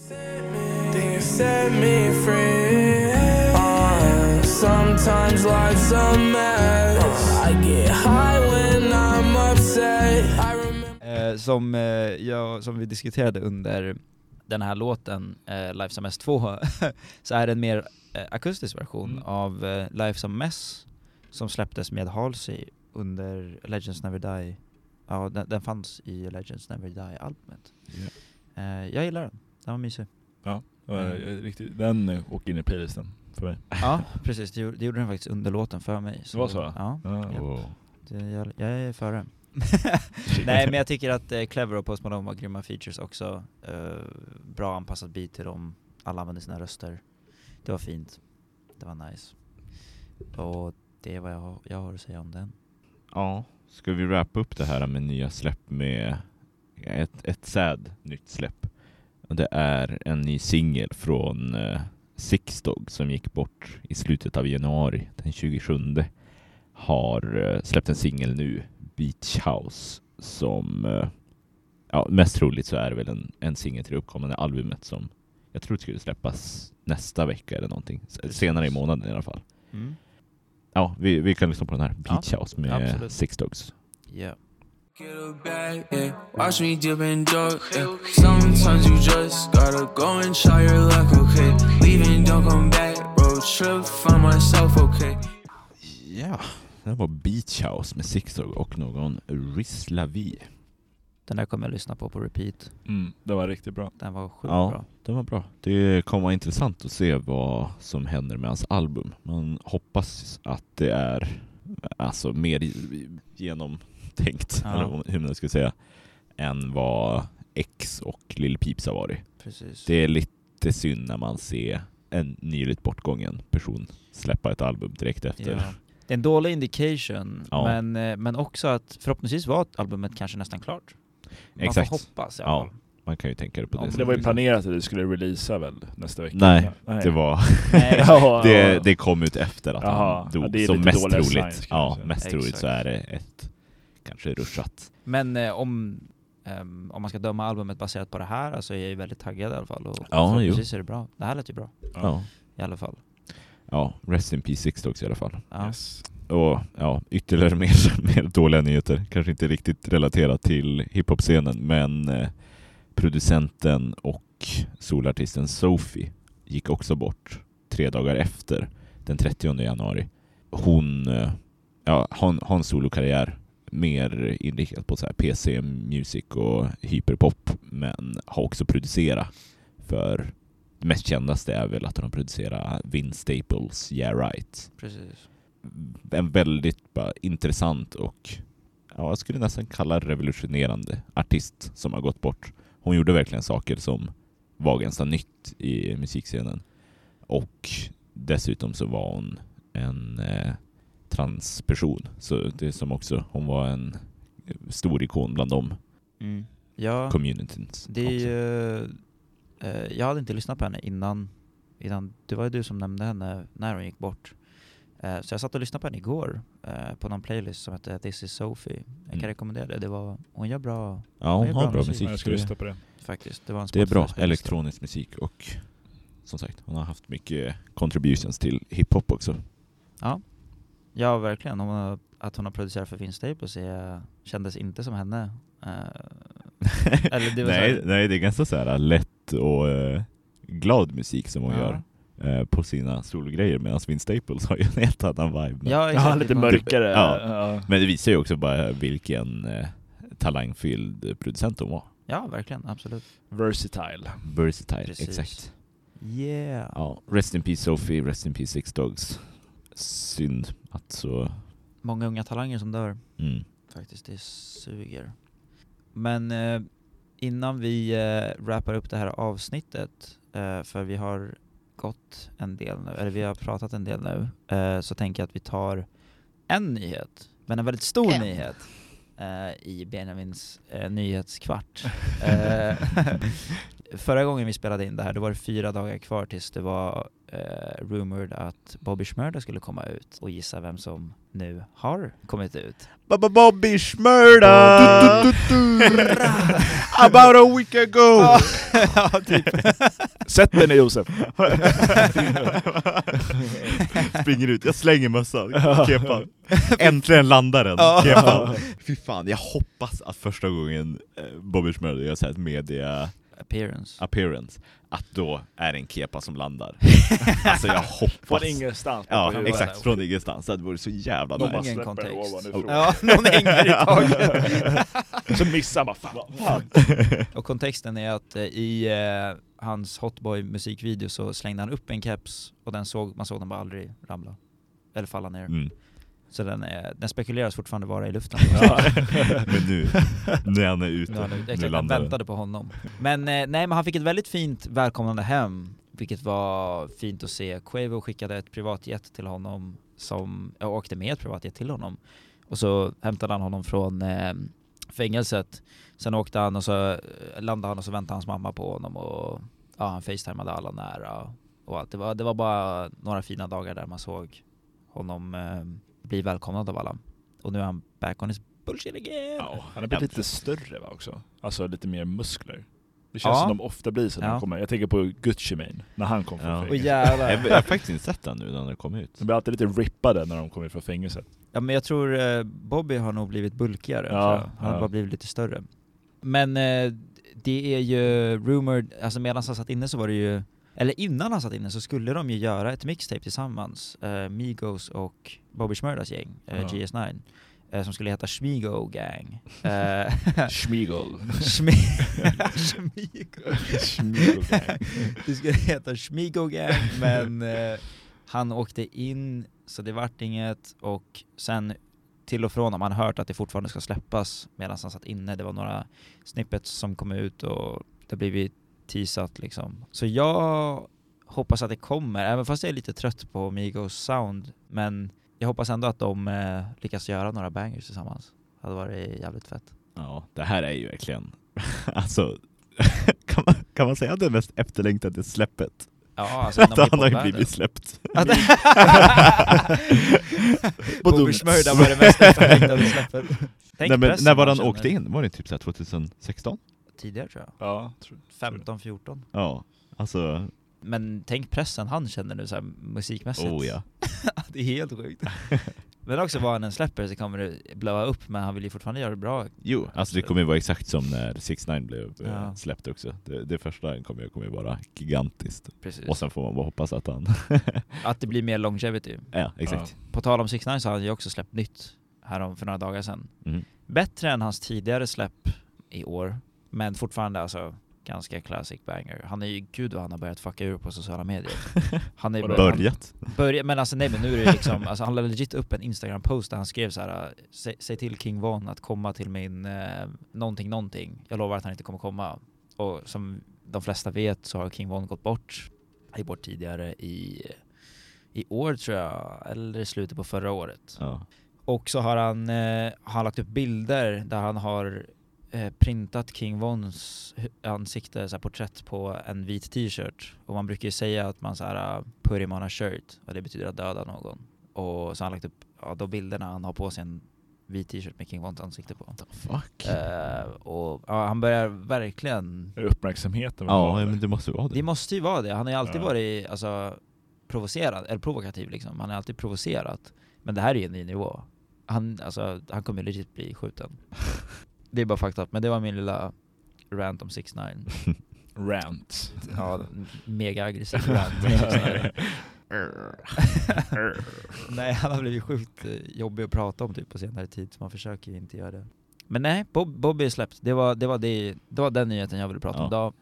Speaker 9: Then you set me free. Uh, sometimes life's a mess. I get high when I'm upset. I remember.
Speaker 2: Eh, som, eh, jag, som vi diskuterade under den här låten, eh, Life's a Mess 2, så är det en mer eh, akustisk version
Speaker 3: Mm.
Speaker 2: av eh, Life's a Mess som släpptes med Halsey under Legends Never Die. Ja, den, den fanns i Legends Never Die-albumet.
Speaker 3: Ja.
Speaker 2: Eh, jag gillar den, den var mysig.
Speaker 3: Eh, Riktigt, den eh, åker in i playlisten för mig.
Speaker 2: Ja, precis. Det, gjorde- det gjorde den faktiskt under låten för mig.
Speaker 3: Det var så?
Speaker 2: Ja,
Speaker 3: Ja.
Speaker 2: det, eh, jag, jag är före. Nej men jag tycker att eh, Clever och Post Malone var grymma features också. Eh, bra anpassat beat till dem, alla använde sina röster. Det var fint, det var nice. Och det är vad jag, har- jag har att säga om den.
Speaker 1: Ja. Ska vi wrappa upp det här med nya släpp med ett, ett sad nytt släpp? Och Det är en ny singel från eh, Sixdog som gick bort i slutet av januari, den 27. Har eh, släppt en singel nu, Beach House, som eh, ja, mest troligt så är det väl en, en singel till det uppkommande albumet som jag tror skulle släppas nästa vecka eller någonting. S- Senare i månaden i alla fall. Ja, vi, vi kan lyssna på den här, Beach House med
Speaker 2: absolut.
Speaker 1: Six Dogs.
Speaker 2: Yeah.
Speaker 9: Get a bag, yeah. Watch me dip in dope, yeah. Sometimes you just gotta go and try your luck, okay? Leaving, don't come back, road trip, find myself, okay?
Speaker 1: Ja, det här var Beach House med Sixdog och någon Rislavi.
Speaker 2: Den där kommer jag lyssna på på repeat.
Speaker 3: Mm, det var riktigt bra.
Speaker 2: Den var sjukt
Speaker 1: Ja.
Speaker 2: bra.
Speaker 1: Det var bra. Det kommer vara intressant att se vad som händer med hans album. Man hoppas att det är alltså mer i- genomtänkt,
Speaker 2: Ja.
Speaker 1: eller vad- hur man ska säga, än vad X och Lil Peeps har varit.
Speaker 2: Precis.
Speaker 1: Det är lite synd när man ser en nyligt bortgången person släppa ett album direkt efter.
Speaker 2: Ja. Det är en dålig indication,
Speaker 1: Ja.
Speaker 2: men, eh, men också att förhoppningsvis var albumet kanske nästan klart. Man
Speaker 1: Exakt.
Speaker 2: får hoppas i alla
Speaker 1: Ja,
Speaker 2: fall.
Speaker 1: man kan ju tänka det på
Speaker 2: Ja,
Speaker 1: det
Speaker 2: men
Speaker 1: sättet.
Speaker 3: Det var ju planerat att du skulle releasa väl nästa vecka?
Speaker 1: liksom- Nej, Det var...
Speaker 2: Nej,
Speaker 3: Ja,
Speaker 1: Det,
Speaker 3: ja.
Speaker 1: det kom ut efter att
Speaker 3: Jaha,
Speaker 1: han dog,
Speaker 3: ja, det är
Speaker 1: så
Speaker 3: lite
Speaker 1: mest
Speaker 3: dåliga
Speaker 1: troligt,
Speaker 3: signs, kan man
Speaker 1: ja,
Speaker 3: säga.
Speaker 1: mest troligt så är
Speaker 2: Exakt.
Speaker 1: det ett kanske ruschat.
Speaker 2: Men eh, om, ehm, om man ska döma albumet baserat på det här så alltså, är jag ju väldigt taggad i alla fall. Och
Speaker 1: Ja,
Speaker 2: förhoppningsvis är det bra. Det här lät ju bra
Speaker 1: Ja.
Speaker 2: i alla fall.
Speaker 1: ja, Rest in Peace Six Dogs i alla fall.
Speaker 2: Ja.
Speaker 3: Yes.
Speaker 1: Och ja, ytterligare mer, mer dåliga nyheter. Kanske inte riktigt relaterat till hiphop-scenen, men eh, producenten och solartisten Sophie gick också bort tre dagar efter, den 30 januari. Hon eh, ja, har en- har en solokarriär mer inriktad på så här PC music och hyperpop, men har också producerat för det mest kändaste är väl att hon har producerat Vince Staples Yeah Right
Speaker 2: Precis.
Speaker 1: en väldigt bara, intressant och ja, jag skulle nästan kalla revolutionerande artist som har gått bort. Hon gjorde verkligen saker som var ganska nytt i musikscenen. Och dessutom så var hon en eh, transperson, så det som också, hon var en stor ikon bland de
Speaker 2: Mm. Ja,
Speaker 1: communityn.
Speaker 2: det är
Speaker 1: också.
Speaker 2: ju... eh, jag hade inte lyssnat på henne innan, innan... Det var ju du som nämnde henne när hon gick bort. Eh, så jag satt och lyssnade på henne igår eh, på någon playlist som hette This is Sophie. Jag kan
Speaker 1: Mm.
Speaker 2: rekommendera det. det var, hon gör bra
Speaker 1: Ja,
Speaker 2: det
Speaker 1: hon
Speaker 2: är
Speaker 1: har
Speaker 2: bra
Speaker 1: bra
Speaker 2: musik.
Speaker 1: musik.
Speaker 3: Jag ska lyssna på det.
Speaker 2: faktiskt. Det, var en
Speaker 1: Det är bra
Speaker 2: Spotify-spellista.
Speaker 1: elektronisk musik och som sagt, hon har haft mycket contributions till hiphop också.
Speaker 2: Ja, verkligen. Hon har, att hon har producerat för Finn Staples är, kändes inte som henne. Eh, eller det var så här-
Speaker 1: nej, nej, det är ganska så här äh, lätt och eh, glad musik som hon
Speaker 2: Ja.
Speaker 1: gör eh, på sina sologrejer medan Vince Staples har ju en helt annan vibe. Men,
Speaker 2: Ja, exakt.
Speaker 3: Ja, lite
Speaker 2: Det var-
Speaker 3: mörkare. eh,
Speaker 1: Ja.
Speaker 3: Ja.
Speaker 1: men det visar ju också bara vilken eh, talangfylld producent hon var.
Speaker 2: Ja, verkligen. Absolut.
Speaker 3: Versatile.
Speaker 1: Versatile,
Speaker 2: Precis.
Speaker 1: exakt.
Speaker 2: Yeah.
Speaker 1: Ja, rest in peace Sophie, rest in peace Six Dogs. Synd att så...
Speaker 2: Många unga talanger som dör.
Speaker 1: Mm.
Speaker 2: Faktiskt, det suger. Men eh, innan vi eh, wrappar upp det här avsnittet, eh, för vi har gått en del nu, eller vi har pratat en del nu, eh, så tänker jag att vi tar en nyhet, men en väldigt stor nyhet eh, i Benjamins eh, nyhetskvart. eh, förra gången vi spelade in det här, då var det fyra dagar kvar tills det var eh, rumored att Bobby Shmurda skulle komma ut och gissa vem som nu har kommit ut.
Speaker 1: Bobby Shmurda! About a week ago!
Speaker 2: ja, typ.
Speaker 3: Sätt dig ner Josef!
Speaker 1: Springer ut, jag slänger mössan, kepan. Äntligen landar den, kepan. Fy fan, jag hoppas att första gången eh, Bobby Schmörder gör så här ett media
Speaker 2: Appearance.
Speaker 1: appearance, att då är det en kepa som landar. Alltså jag hoppas.
Speaker 3: Från ingenstans.
Speaker 1: Ja, exakt, från ingenstans. Det vore så jävla
Speaker 2: Någon
Speaker 1: nice.
Speaker 2: ingen
Speaker 3: Släpper
Speaker 2: kontext.
Speaker 3: ovanifrån.
Speaker 2: Ja, någon hänger i taket.
Speaker 3: Så missar man, fan, vad fan.
Speaker 2: Och kontexten är att eh, i eh, hans Hotboy musikvideo så slängde han upp en keps och den såg, man såg den bara aldrig ramla. Eller falla ner.
Speaker 1: Mm.
Speaker 2: Så den, är, den spekuleras fortfarande vara i luften.
Speaker 1: Men nu, när han är ute,
Speaker 2: Nu har den-
Speaker 1: nu
Speaker 2: Exakt, den
Speaker 1: landar den.
Speaker 2: väntade på honom. Men eh, nej, men han fick ett väldigt fint välkomnande hem, vilket var fint att se. Quavo skickade ett privatjet till honom, som, jag åkte med ett privatjet till honom. Och så hämtade han honom från eh, fängelset. Sen åkte han och så eh, landade han och så väntade hans mamma på honom och ja, han facetimade alla nära. Och allt. Det, var, det var bara några fina dagar där man såg honom eh, bli välkomnad av alla. Och nu är han back on his bullshit again!
Speaker 1: Ja,
Speaker 3: Han har blivit lite större va också? Alltså lite mer muskler. Det känns
Speaker 2: Ja.
Speaker 3: som de ofta blir så när
Speaker 2: Ja.
Speaker 3: de kommer. Jag tänker på Gucci Mane, när han kom från
Speaker 1: Ja.
Speaker 2: Och
Speaker 3: fängelset.
Speaker 2: jävlar!
Speaker 1: Jag jag har faktiskt inte sett den nu när den kom ut.
Speaker 3: De blir alltid lite rippade när de kommer från fängelset.
Speaker 2: Ja men jag tror eh, Bobby har nog blivit bulkigare,
Speaker 3: Ja,
Speaker 2: tror jag. han har
Speaker 3: ja.
Speaker 2: bara blivit lite större. Men eh, det är ju rumored, alltså medan han satt inne så var det ju, eller innan han satt inne så skulle de ju göra ett mixtape tillsammans, eh, Migos och Bobby Shmurdas gäng, eh,
Speaker 3: Ja.
Speaker 2: GS9, eh, som skulle heta Shmigo Gang. Eh,
Speaker 3: Schmiegel.
Speaker 2: Shmigo. Det skulle heta Schmigo Gang, men eh, han åkte in så det vart inget och sen till och från har man hört att det fortfarande ska släppas medan han satt inne. Det var några snippets som kom ut och det har blivit teasat liksom. Så jag hoppas att det kommer, även fast jag är lite trött på Migos sound. Men jag hoppas ändå att de eh, lyckas göra några bangers tillsammans. Det hade varit jävligt fett.
Speaker 1: Ja, det här är ju verkligen... Alltså, kan man, kan man säga att det mest efterlängtade släppet?
Speaker 2: Ja, alltså
Speaker 1: att
Speaker 2: inom
Speaker 1: han har ju
Speaker 2: hiphopvärlden.
Speaker 1: blivit släppt.
Speaker 2: Att-
Speaker 1: Badum.
Speaker 2: Bobby Shmurda var det mest efterlängtade släppet.
Speaker 1: Nej,
Speaker 2: Tänk
Speaker 1: men,
Speaker 2: pressen
Speaker 1: när var
Speaker 2: man
Speaker 1: han
Speaker 2: känner.
Speaker 1: åkte in? Var det typ så här 2016?
Speaker 2: Tidigare tror jag.
Speaker 3: Ja, tror
Speaker 2: 15, 14.
Speaker 1: Ja, alltså...
Speaker 2: Men tänk pressen han känner nu så här musikmässigt.
Speaker 1: Oh ja.
Speaker 2: Det är helt sjukt. Men också vad han än släpper så kommer det blöa upp, men han vill ju fortfarande göra det bra.
Speaker 1: Jo, alltså det kommer ju vara exakt som när 6 9 blev eh,
Speaker 2: Ja.
Speaker 1: släppt också. Det, det första kommer ju kommer ju vara gigantiskt.
Speaker 2: Precis.
Speaker 1: Och sen får man bara hoppas att han...
Speaker 2: Att det blir mer longevity.
Speaker 1: ja, exakt.
Speaker 2: På tal om 6 9 så har han ju också släppt nytt härom för några dagar sedan.
Speaker 1: Mm.
Speaker 2: Bättre än hans tidigare släpp i år, men fortfarande alltså ganska classic banger. Han är ju, gud vad han har börjat fucka ur på sociala medier. Han är
Speaker 3: Vadå?
Speaker 2: han-
Speaker 1: Börjat.
Speaker 2: Börja, men alltså nej men nu är det liksom, alltså han la legit upp en instagram-post där han skrev så här: "Sä- Säg till King Von att komma till min eh, någonting någonting, jag lovar att han inte kommer komma. Och som de flesta vet så har King Von gått bort. Han gick bort tidigare i, i år tror jag, eller i slutet på förra året.
Speaker 1: Ja.
Speaker 2: Och så har han, eh, har lagt upp bilder där han har eh, printat King Vons hu- ansikte, så här, porträtt på en vit t-shirt. Och man brukar ju säga att man så här, uh, put him on a shirt, och det betyder att döda någon. Och så har han lagt upp ja, de bilderna han har på sig en vit t-shirt med King Vons ansikte på.
Speaker 1: Fuck.
Speaker 2: Eh, och ja, han börjar verkligen...
Speaker 3: Är det uppmärksamheten? man
Speaker 1: Ja,
Speaker 3: har?
Speaker 1: men det måste vara det.
Speaker 2: Det måste ju vara det, han har ju alltid
Speaker 3: Ja.
Speaker 2: varit alltså, provocerad, eller provokativ liksom. Han har alltid provocerat. Men det här är ju en ny nivå. Han, alltså, han kommer ju legit bli skjuten. det är bara fucked up, men det var min lilla rant om 6 9
Speaker 3: Rant.
Speaker 2: Ja, mega aggressiv rant om 6ix9ine. Nej, han har blivit sjukt eh, jobbig att prata om typ på senare tid, så man försöker ju inte göra det. Men nej, Bob, Bobby är släppt. Det var, det, var det, det var den nyheten jag ville prata om
Speaker 1: Ja.
Speaker 2: idag.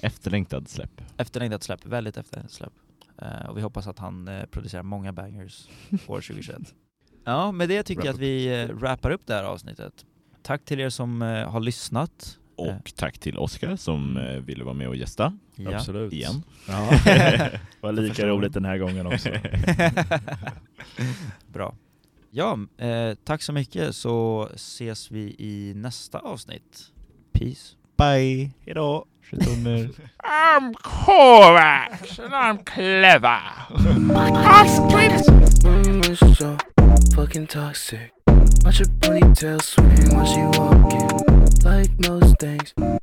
Speaker 1: Efterlängtad släpp.
Speaker 2: Efterlängtat släpp, väldigt efterlängtat släpp. Eh, och vi hoppas att han eh, producerar många bangers år 2021. Ja, med det tycker jag
Speaker 1: Wrap
Speaker 2: att vi uh, wrappar upp det här avsnittet. Tack till er som eh, har lyssnat. Eh.
Speaker 1: Och tack till Oskar som eh, ville vara med och gästa
Speaker 2: Ja.
Speaker 3: Absolut.
Speaker 1: igen.
Speaker 3: Ja. Var lika
Speaker 1: förstår
Speaker 3: roligt
Speaker 1: det.
Speaker 3: den här gången också.
Speaker 2: Bra. Ja, eh, tack så mycket så ses vi i nästa avsnitt. Peace.
Speaker 1: Bye! Hejdå! Sköt om er.
Speaker 9: I'm Kovacs and I'm clever. Rumors so fucking toxic. Watch your ponytail swing when she walking. Like most things,